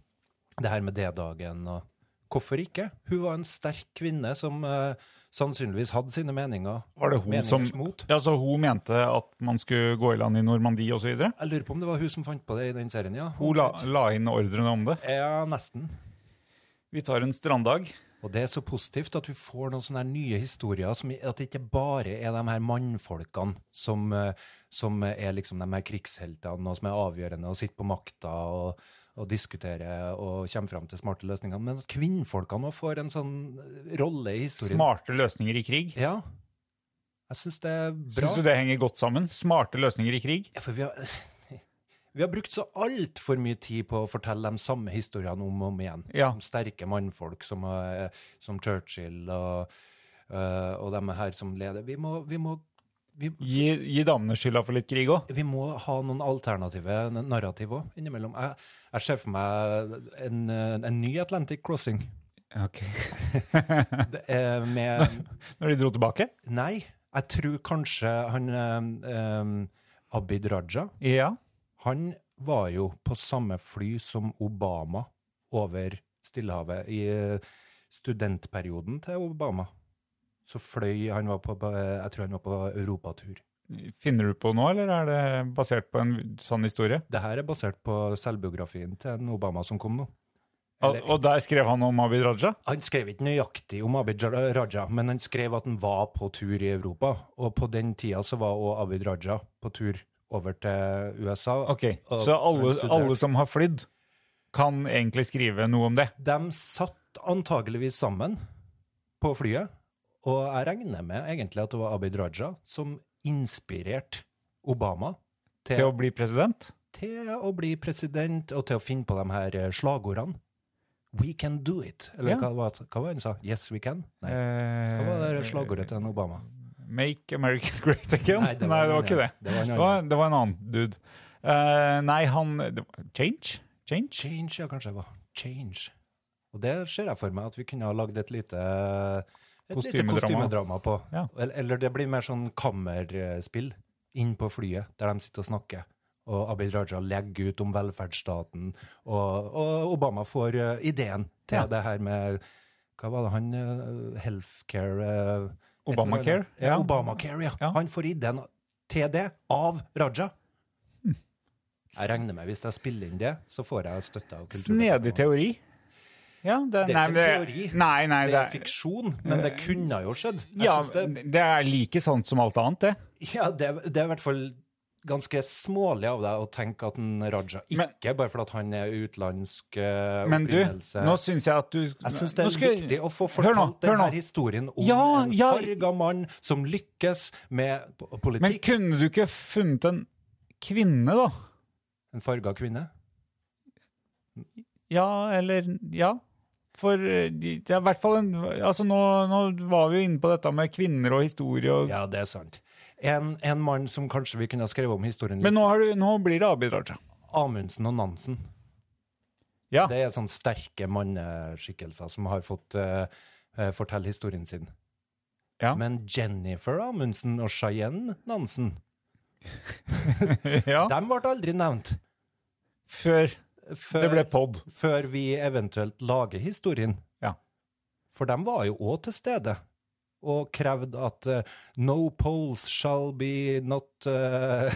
Speaker 5: det her med D-dagen og Hvorfor ikke? Hun var en sterk kvinne som eh, sannsynligvis hadde sine meninger.
Speaker 4: Var det hun
Speaker 5: meningers
Speaker 4: som
Speaker 5: mot.
Speaker 4: Ja, så hun mente at man skulle gå i land i Normandie og så videre?
Speaker 5: Jeg lurer på om det var hun som fant på det i den serien, ja.
Speaker 4: Hun la, la inn ordrene om det.
Speaker 5: Ja, nesten.
Speaker 4: Vi tar en stranddag.
Speaker 5: Og det er så positivt at vi får noen sånne her nye historier, som, at det ikke bare er de her mannfolkene som, eh, som er liksom de her krigsheltene og som er avgjørende og sitter på makta og, og diskuterer og kommer fram til smarte løsninger, men at kvinnfolkene også får en sånn rolle i historien.
Speaker 4: Smarte løsninger i krig.
Speaker 5: Ja. Jeg syns det er bra.
Speaker 4: Syns du det henger godt sammen? Smarte løsninger i krig?
Speaker 5: Ja, for vi har, vi har brukt så altfor mye tid på å fortelle de samme historiene om og om igjen.
Speaker 4: Ja.
Speaker 5: Om sterke mannfolk som, eh, som Churchill og, eh, og de her som leder. Vi må, vi, må, vi,
Speaker 4: Gi, gi damene skylda for litt krig òg.
Speaker 5: vi må ha noen alternative n- narrativ òg, innimellom. Jeg, jeg ser for meg en, eh, en ny Atlantic Crossing. Det er med
Speaker 4: Når de dro tilbake?
Speaker 5: Nei, jeg tror kanskje han eh, eh, Abid Raja
Speaker 4: Ja.
Speaker 5: Han var jo på samme fly som Obama over Stillehavet i eh, studentperioden til Obama. Så fløy han var på, på- Jeg tror han var på europatur.
Speaker 4: Finner du på nå, eller er det basert på en sann historie?
Speaker 5: Det her er basert på selvbiografien til en Obama som kom nå.
Speaker 4: Og, og der skrev han om Abid Raja?
Speaker 5: Han skrev ikke nøyaktig om Abid Jar- Raja, men han skrev at han var på tur i Europa. Og på den tida så var også Abid Raja på tur over til USA.
Speaker 4: Ok,
Speaker 5: Og-
Speaker 4: Så alle,
Speaker 5: og studerte.
Speaker 4: alle som har flydd, kan egentlig skrive noe om det?
Speaker 5: De satt antakeligvis sammen på flyet, og jeg regner med egentlig at det var Abid Raja som inspirerte Obama til,
Speaker 4: Til å bli president?
Speaker 5: til å bli president og til å finne på de her eh, slagordene. We can do it. Eller
Speaker 4: Ja. Eh,
Speaker 5: hva, var, hva var det han sa? Yes, we can? Nei. Hva
Speaker 4: Hva
Speaker 5: var det der slagordet til en Obama?
Speaker 4: Eh, Make America Great Again? Nei, det var,
Speaker 5: en
Speaker 4: ikke det.
Speaker 5: annen. Det var en
Speaker 4: Det
Speaker 5: annen.
Speaker 4: var, det var en annen dude. Eh, nei, han det var, Change? Change?
Speaker 5: Change, ja, kanskje det var. Change. Og det ser jeg for meg at vi kunne ha lagd et lite et
Speaker 4: Kostymedrama.
Speaker 5: Lite kostymedrama på.
Speaker 4: Ja.
Speaker 5: Eller, eller det blir mer sånn kammerspill inn på flyet, der de sitter og snakker. Og Abid Raja legger ut om velferdsstaten, og, og Obama får eh, ideen til
Speaker 4: Ja.
Speaker 5: det her med Hva var det han eh, Healthcare eh, et eller annet.
Speaker 4: Obamacare?
Speaker 5: Ja,
Speaker 4: Ja.
Speaker 5: Obamacare, ja.
Speaker 4: Ja.
Speaker 5: Han får ideen til det av Raja. Jeg regner med hvis jeg spiller inn det, så får jeg støtte av kulturdepartementet.
Speaker 4: Snedig teori? Ja, det,
Speaker 5: Det er
Speaker 4: nei,
Speaker 5: ikke en
Speaker 4: men
Speaker 5: teori.
Speaker 4: Nei, nei,
Speaker 5: Det
Speaker 4: det
Speaker 5: er fiksjon, men det kunne jo skjedd. Jeg
Speaker 4: ja,
Speaker 5: synes det,
Speaker 4: det er like sant som alt sånn annet, det.
Speaker 5: ja det, det er i hvert fall ganske smålig av deg å tenke at en Raja
Speaker 4: Men-
Speaker 5: ikke, bare fordi at han er utlandsk eh,
Speaker 4: Men du,
Speaker 5: opprinnelse.
Speaker 4: nå syns jeg at du
Speaker 5: jeg syns det
Speaker 4: Nå
Speaker 5: er
Speaker 4: skal-
Speaker 5: viktig å få
Speaker 4: Hør nå,
Speaker 5: fortalt
Speaker 4: hør
Speaker 5: denne
Speaker 4: nå.
Speaker 5: historien om
Speaker 4: Ja,
Speaker 5: en
Speaker 4: ja.
Speaker 5: farga mann som lykkes med po-
Speaker 4: Men
Speaker 5: politikk.
Speaker 4: kunne du ikke funnet en kvinne, da?
Speaker 5: En farga kvinne.
Speaker 4: Ja, eller Ja. For eh, de- det er i hvert fall en Altså, nå, nå var vi jo inne på dette med kvinner og historie og
Speaker 5: Ja, det er sant. En, en mann som kanskje vi kunne ha skrevet om historien litt.
Speaker 4: Men nå, har du, nå blir det Abid Raja.
Speaker 5: Amundsen og Nansen.
Speaker 4: Ja.
Speaker 5: Det er sånne sterke manneskikkelser som har fått eh, eh, fortelle historien sin.
Speaker 4: Ja.
Speaker 5: Men Jennifer Amundsen og Cheyenne Nansen,
Speaker 4: altså. ja.
Speaker 5: de ble aldri nevnt
Speaker 4: Før
Speaker 5: før,
Speaker 4: det ble pod.
Speaker 5: før vi eventuelt lager historien.
Speaker 4: Ja.
Speaker 5: For de var jo òg til stede og krevde at eh, no polls shall be not eh,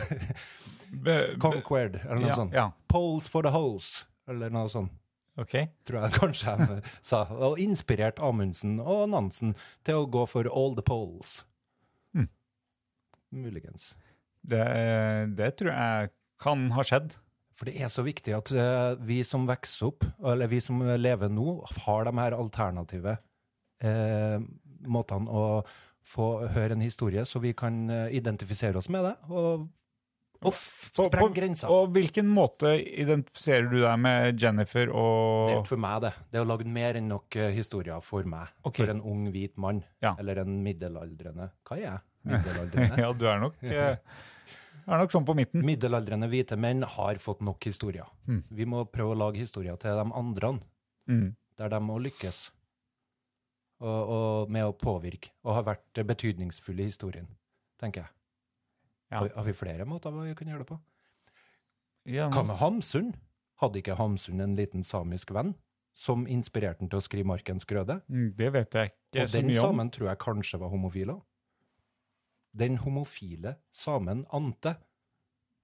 Speaker 4: Be- be-
Speaker 5: conquered, eller noe
Speaker 4: ja,
Speaker 5: sånt.
Speaker 4: Ja.
Speaker 5: Polls for the hose, eller noe sånt.
Speaker 4: OK.
Speaker 5: tror jeg kanskje han sa, og inspirert Amundsen og Nansen til å gå for all the polls.
Speaker 4: Mm.
Speaker 5: Muligens.
Speaker 4: Det, det tror jeg kan ha skjedd.
Speaker 5: For det er så viktig at eh, vi som vokser opp, eller vi som lever nå, har de her alternative eh, måtene å få høre en historie, så vi kan eh, identifisere oss med det, og, og f-
Speaker 4: På- på-
Speaker 5: sprenge grenser.
Speaker 4: Og hvilken måte identifiserer du deg med Jennifer
Speaker 5: Det er
Speaker 4: og
Speaker 5: for meg, det. Det er lagd mer enn nok eh, historier for meg.
Speaker 4: Ok.
Speaker 5: For en ung, hvit mann.
Speaker 4: Ja.
Speaker 5: Eller en middelaldrende Hva er jeg? Middelaldrende.
Speaker 4: Ja, du er nok, eh, er nok sånn på midten.
Speaker 5: Middelaldrende hvite menn har fått nok historier.
Speaker 4: Mm.
Speaker 5: Vi må prøve å lage historier til de andre,
Speaker 4: Mm.
Speaker 5: der de må lykkes. Og, og med å påvirke, og har vært eh, betydningsfulle i historien, tenker jeg.
Speaker 4: Ja.
Speaker 5: Har, har vi flere måter vi kan gjøre det på?
Speaker 4: Ja,
Speaker 5: Hva
Speaker 4: nå-
Speaker 5: med Hamsun? Hadde ikke Hamsun en liten samisk venn som inspirerte han til å skrive 'Markens grøde'?
Speaker 4: Mm, Det vet jeg ikke
Speaker 5: Og
Speaker 4: så
Speaker 5: den
Speaker 4: mye om.
Speaker 5: samen tror jeg kanskje var homofil òg. Den homofile samen Ante,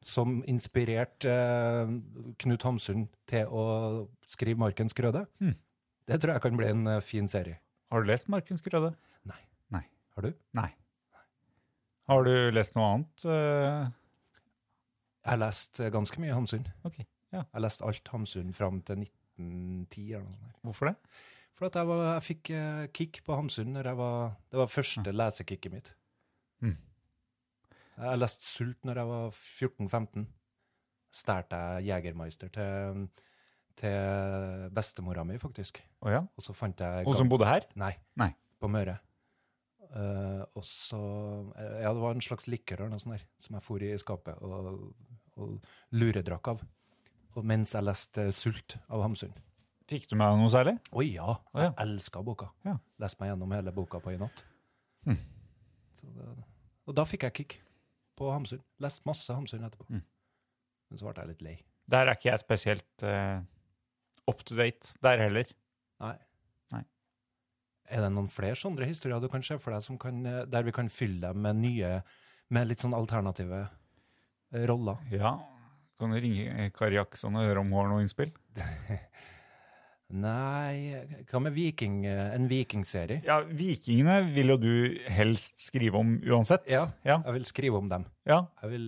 Speaker 5: som inspirerte eh, Knut Hamsun til å skrive 'Markens grøde',
Speaker 4: Hmm.
Speaker 5: det tror jeg kan bli en eh, fin serie.
Speaker 4: Har du lest Markens Grøde?
Speaker 5: Nei.
Speaker 4: Nei.
Speaker 5: Har du?
Speaker 4: Nei. Har du lest noe annet? eh?
Speaker 5: Jeg har lest eh, ganske mye Hamsun.
Speaker 4: Ok, ja.
Speaker 5: Jeg har lest alt Hamsun fram til 1910 eller noe sånt. der.
Speaker 4: Hvorfor det?
Speaker 5: For at jeg, var, jeg fikk eh, kick på Hamsun når jeg var Det var første lesekicket mitt.
Speaker 4: Mm.
Speaker 5: Jeg leste Sult når jeg var 14-15. Stærte jeg Jegermeister til, til bestemora mi, faktisk.
Speaker 4: Å ja.
Speaker 5: Og så fant jeg
Speaker 4: Hun som bodde her?
Speaker 5: Nei.
Speaker 4: Nei.
Speaker 5: På Møre. Eh, og så eh, Ja, det var en slags likørør noe sånt der, som jeg for i skapet og, og luredrakk av. Og mens jeg leste Sult av Hamsun.
Speaker 4: Fikk du med deg noe særlig?
Speaker 5: Å ja,
Speaker 4: Å ja.
Speaker 5: jeg elska boka.
Speaker 4: Ja.
Speaker 5: Leste meg gjennom hele boka på en natt.
Speaker 4: Mm.
Speaker 5: Så det, og da fikk jeg kick på Hamsun. Leste masse Hamsun etterpå.
Speaker 4: Mm.
Speaker 5: Men så ble jeg litt lei.
Speaker 4: Der er ikke jeg spesielt eh, up to date der heller.
Speaker 5: Nei.
Speaker 4: Nei.
Speaker 5: Er det noen flere sånne historier du kan se for deg, som kan, eh, der vi kan fylle dem med nye, med litt sånn alternative eh, roller?
Speaker 4: Ja. Kan du ringe eh, Kari Jakkesson og høre om hun har noe innspill?
Speaker 5: Nei Hva med viking, eh, en vikingserie?
Speaker 4: Ja, Vikingene vil jo du helst skrive om uansett.
Speaker 5: Ja.
Speaker 4: Ja.
Speaker 5: Jeg vil skrive om dem.
Speaker 4: ja.
Speaker 5: Jeg vil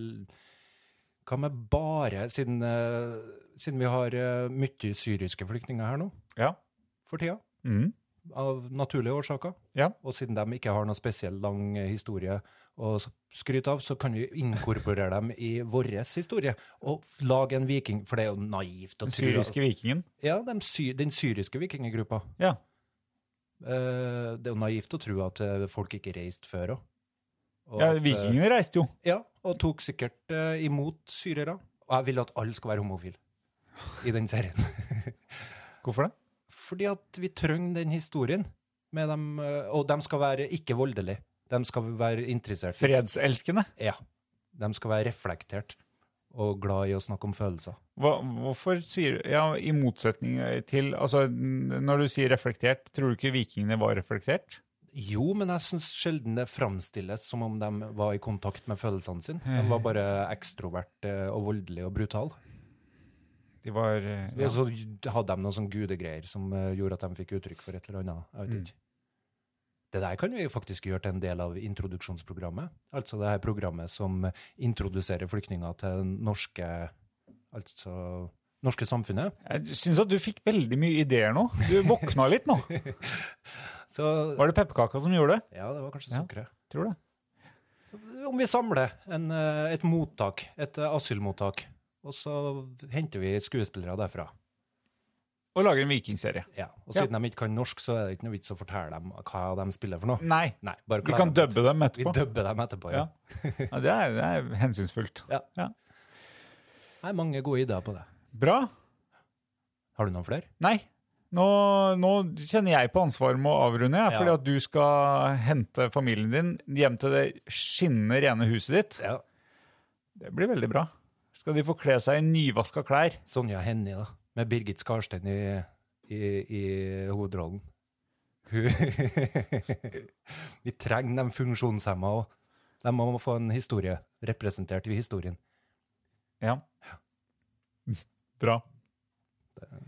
Speaker 5: Hva med bare Siden, eh, siden vi har eh, mye syriske flyktninger her nå
Speaker 4: Ja.
Speaker 5: for tida,
Speaker 4: Mm.
Speaker 5: av naturlige årsaker,
Speaker 4: Ja.
Speaker 5: og siden de ikke har noe spesiell lang eh, historie å s- skryte av, så kan vi inkorporere dem i vår historie og f- lage en viking, for det er jo naivt å
Speaker 4: Den
Speaker 5: tro
Speaker 4: syriske vikingen.
Speaker 5: Ja, dem sy den syriske vikinggruppa.
Speaker 4: Ja.
Speaker 5: Eh, det er jo naivt å tro at eh, folk ikke reiste før òg.
Speaker 4: Ja, Vikingene reiste jo.
Speaker 5: eh, Ja, og tok sikkert eh, imot syrere. Og jeg vil at alle skal være homofile i den serien.
Speaker 4: Hvorfor det?
Speaker 5: Fordi at vi trenger den historien. Med dem, eh, og de skal være ikke voldelige. De skal være interessert.
Speaker 4: Fredselskende.
Speaker 5: Ja. De skal være reflektert og glad i å snakke om følelser.
Speaker 4: Hva, hvorfor sier du Ja, i motsetning til Altså, n- når du sier reflektert, tror du ikke vikingene var reflektert?
Speaker 5: Jo, men jeg syns sjelden det framstilles som om de var i kontakt med følelsene sine. De var bare ekstrovert eh, og voldelig og brutal.
Speaker 4: De var eh,
Speaker 5: Og så hadde de noen sånne gudegreier som eh, gjorde at de fikk uttrykk for et eller annet. Jeg vet
Speaker 4: Mm.
Speaker 5: ikke. Det der kan vi faktisk gjøre til en del av introduksjonsprogrammet. Altså det her programmet som introduserer flyktninger til det norske, altså, norske samfunnet.
Speaker 4: Jeg syns at du fikk veldig mye ideer nå. Du våkna litt nå.
Speaker 5: Så
Speaker 4: Var det pepperkaka som gjorde det?
Speaker 5: ja, det var kanskje
Speaker 4: Ja.
Speaker 5: sukkeret.
Speaker 4: Tror det.
Speaker 5: Så Om vi samler en, eh, et mottak, et eh, asylmottak, og så henter vi skuespillere derfra.
Speaker 4: Og lager en vikingserie.
Speaker 5: Ja. Og
Speaker 4: Ja.
Speaker 5: siden de ikke kan norsk, så er det ikke noe vits å fortelle dem hva de spiller for noe.
Speaker 4: Nei,
Speaker 5: Nei, bare
Speaker 4: Mm. vi
Speaker 5: klær
Speaker 4: kan
Speaker 5: dem ut.
Speaker 4: dubbe dem
Speaker 5: Vi
Speaker 4: etterpå.
Speaker 5: dubber dem etterpå, ja.
Speaker 4: Ja. Ja, det, er, det er hensynsfullt.
Speaker 5: Ja. Det er mange gode ideer på det.
Speaker 4: Bra.
Speaker 5: Har du noen flere?
Speaker 4: Nei. Nå, nå kjenner jeg på ansvaret med å avrunde, jeg,
Speaker 5: Ja.
Speaker 4: fordi at du skal hente familien din hjem til det skinnende rene huset ditt.
Speaker 5: Ja.
Speaker 4: Det blir veldig bra. Skal de få kle seg i nyvaska klær?
Speaker 5: Sonja Hennie, da. Med Birgit Skarstein i, i, i hovedrollen. Hun- Vi trenger de funksjonshemma òg. De må få en historie representert i historien.
Speaker 4: Ja. Bra.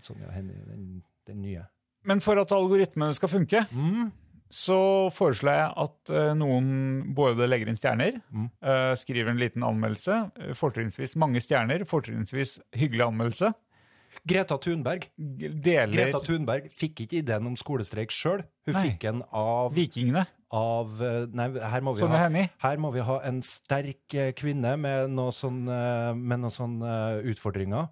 Speaker 5: Sonja Hennie, den, den nye.
Speaker 4: Men for at algoritmene skal funke,
Speaker 5: Mm.
Speaker 4: så foreslår jeg at eh, noen både legger inn stjerner,
Speaker 5: Mm.
Speaker 4: eh, skriver en liten anmeldelse, eh, fortrinnsvis mange stjerner, fortrinnsvis hyggelig anmeldelse,
Speaker 5: Greta Thunberg.
Speaker 4: g- deler
Speaker 5: Greta Thunberg fikk ikke ideen om skolestreik sjøl. Hun
Speaker 4: Nei.
Speaker 5: fikk den av,
Speaker 4: vikingene,
Speaker 5: av eh, Nei, her må vi
Speaker 4: Sonja
Speaker 5: ha
Speaker 4: Hennie.
Speaker 5: Her må vi ha en sterk eh, kvinne med noen sånne, med noe sånn eh, utfordringer.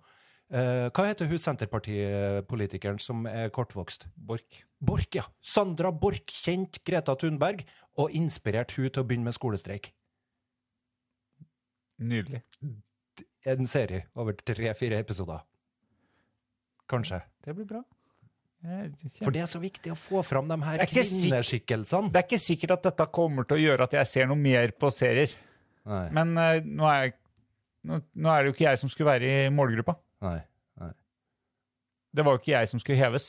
Speaker 5: Eh, hva heter hun Senterpartipolitikeren som er kortvokst?
Speaker 4: Bork.
Speaker 5: Borch, ja. Sandra Borch, kjent Greta Thunberg, og inspirert hun til å begynne med skolestreik.
Speaker 4: Nydelig.
Speaker 5: En serie over tre-fire episoder. Kanskje.
Speaker 4: Det blir bra. Jeg kjenner-
Speaker 5: For det er så viktig å få fram de her
Speaker 4: Jeg er ikke sikker-
Speaker 5: kvinneskikkelsene.
Speaker 4: det er ikke sikkert at dette kommer til å gjøre at jeg ser noe mer på serier,
Speaker 5: Nei,
Speaker 4: men eh, nå, er jeg, nå, nå er det jo ikke jeg som skulle være i målgruppa.
Speaker 5: nei.
Speaker 4: Det var jo ikke jeg som skulle heves.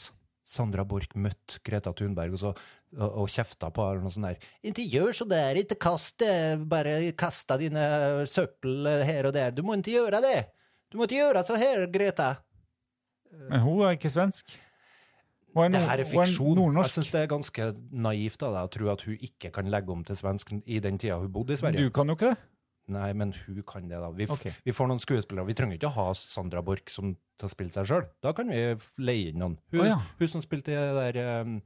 Speaker 5: Sandra Borch møtte Greta Thunberg og, så, og, og kjefta på henne og sånn der. Ikke gjør så der, ikke kast det, bare kasta dine søppel her og der. Du må ikke gjøre det. Du må ikke gjøre så her, Greta.
Speaker 4: Men hun er ikke svensk. Hun er,
Speaker 5: Det
Speaker 4: nord- hun er
Speaker 5: her er
Speaker 4: Altså,
Speaker 5: fiksjon. Jeg
Speaker 4: Nordnorsk.
Speaker 5: syns det er ganske naivt av deg å tro at hun ikke kan legge om til svensk i den tida hun bodde i Sverige.
Speaker 4: Du kan jo ikke det.
Speaker 5: Nei, men hun kan det, da. Vi, f-
Speaker 4: Ok.
Speaker 5: vi får noen skuespillere. Vi trenger ikke å ha Sandra Borch som til å spille seg sjøl. Da kan vi f- leie inn noen. Hun,
Speaker 4: Å, ja.
Speaker 5: hun som spilte i det der, um,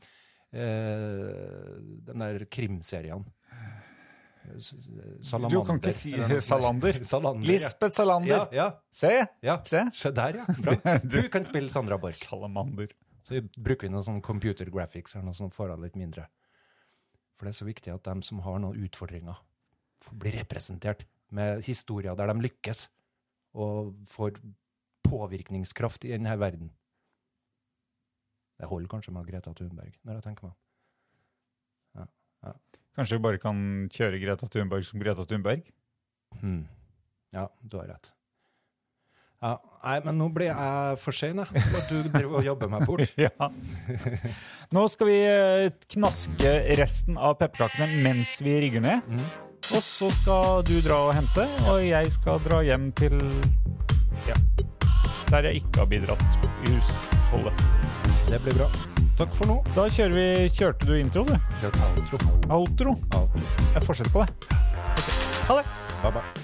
Speaker 5: eh, den der krimserien. S- Salamander.
Speaker 4: Du kan ikke si
Speaker 5: eller noe sånt.
Speaker 4: Salander.
Speaker 5: Salander,
Speaker 4: Lisbeth Salander.
Speaker 5: Ja, ja.
Speaker 4: Se!
Speaker 5: ja.
Speaker 4: Se.
Speaker 5: Se der, ja. Bra.
Speaker 4: Du-
Speaker 5: Hun kan spille Sandra Borch.
Speaker 4: Salamander.
Speaker 5: Så bruker vi noe sånn computer graphics eller noe sånt for henne litt mindre. For det er så viktig at de som har noen utfordringer, får bli representert med historier der de lykkes, og får påvirkningskraft i denne verden. Det holder kanskje med Greta Thunberg, når jeg tenker meg om.
Speaker 4: Kanskje vi bare kan kjøre Greta Thunberg som Greta Thunberg?
Speaker 5: Hmm. Ja, du har rett. Ja, nei, men nå blir jeg for sein, jeg. for at Du driver og jobber meg bort.
Speaker 4: Ja. Nå skal vi eh, knaske resten av pepperkakene mens vi rigger ned.
Speaker 5: Mm.
Speaker 4: Og så skal du dra og hente, og jeg skal dra hjem til ja. Der jeg ikke har bidratt i husholdet.
Speaker 5: Det blir bra. Takk for nå.
Speaker 4: Da kjører vi Kjørte du intro, du?
Speaker 5: Kjørt outro.
Speaker 4: Outro.
Speaker 5: Outro.
Speaker 4: Det er forskjell på det. Ok. Ha det.
Speaker 5: Bye bye.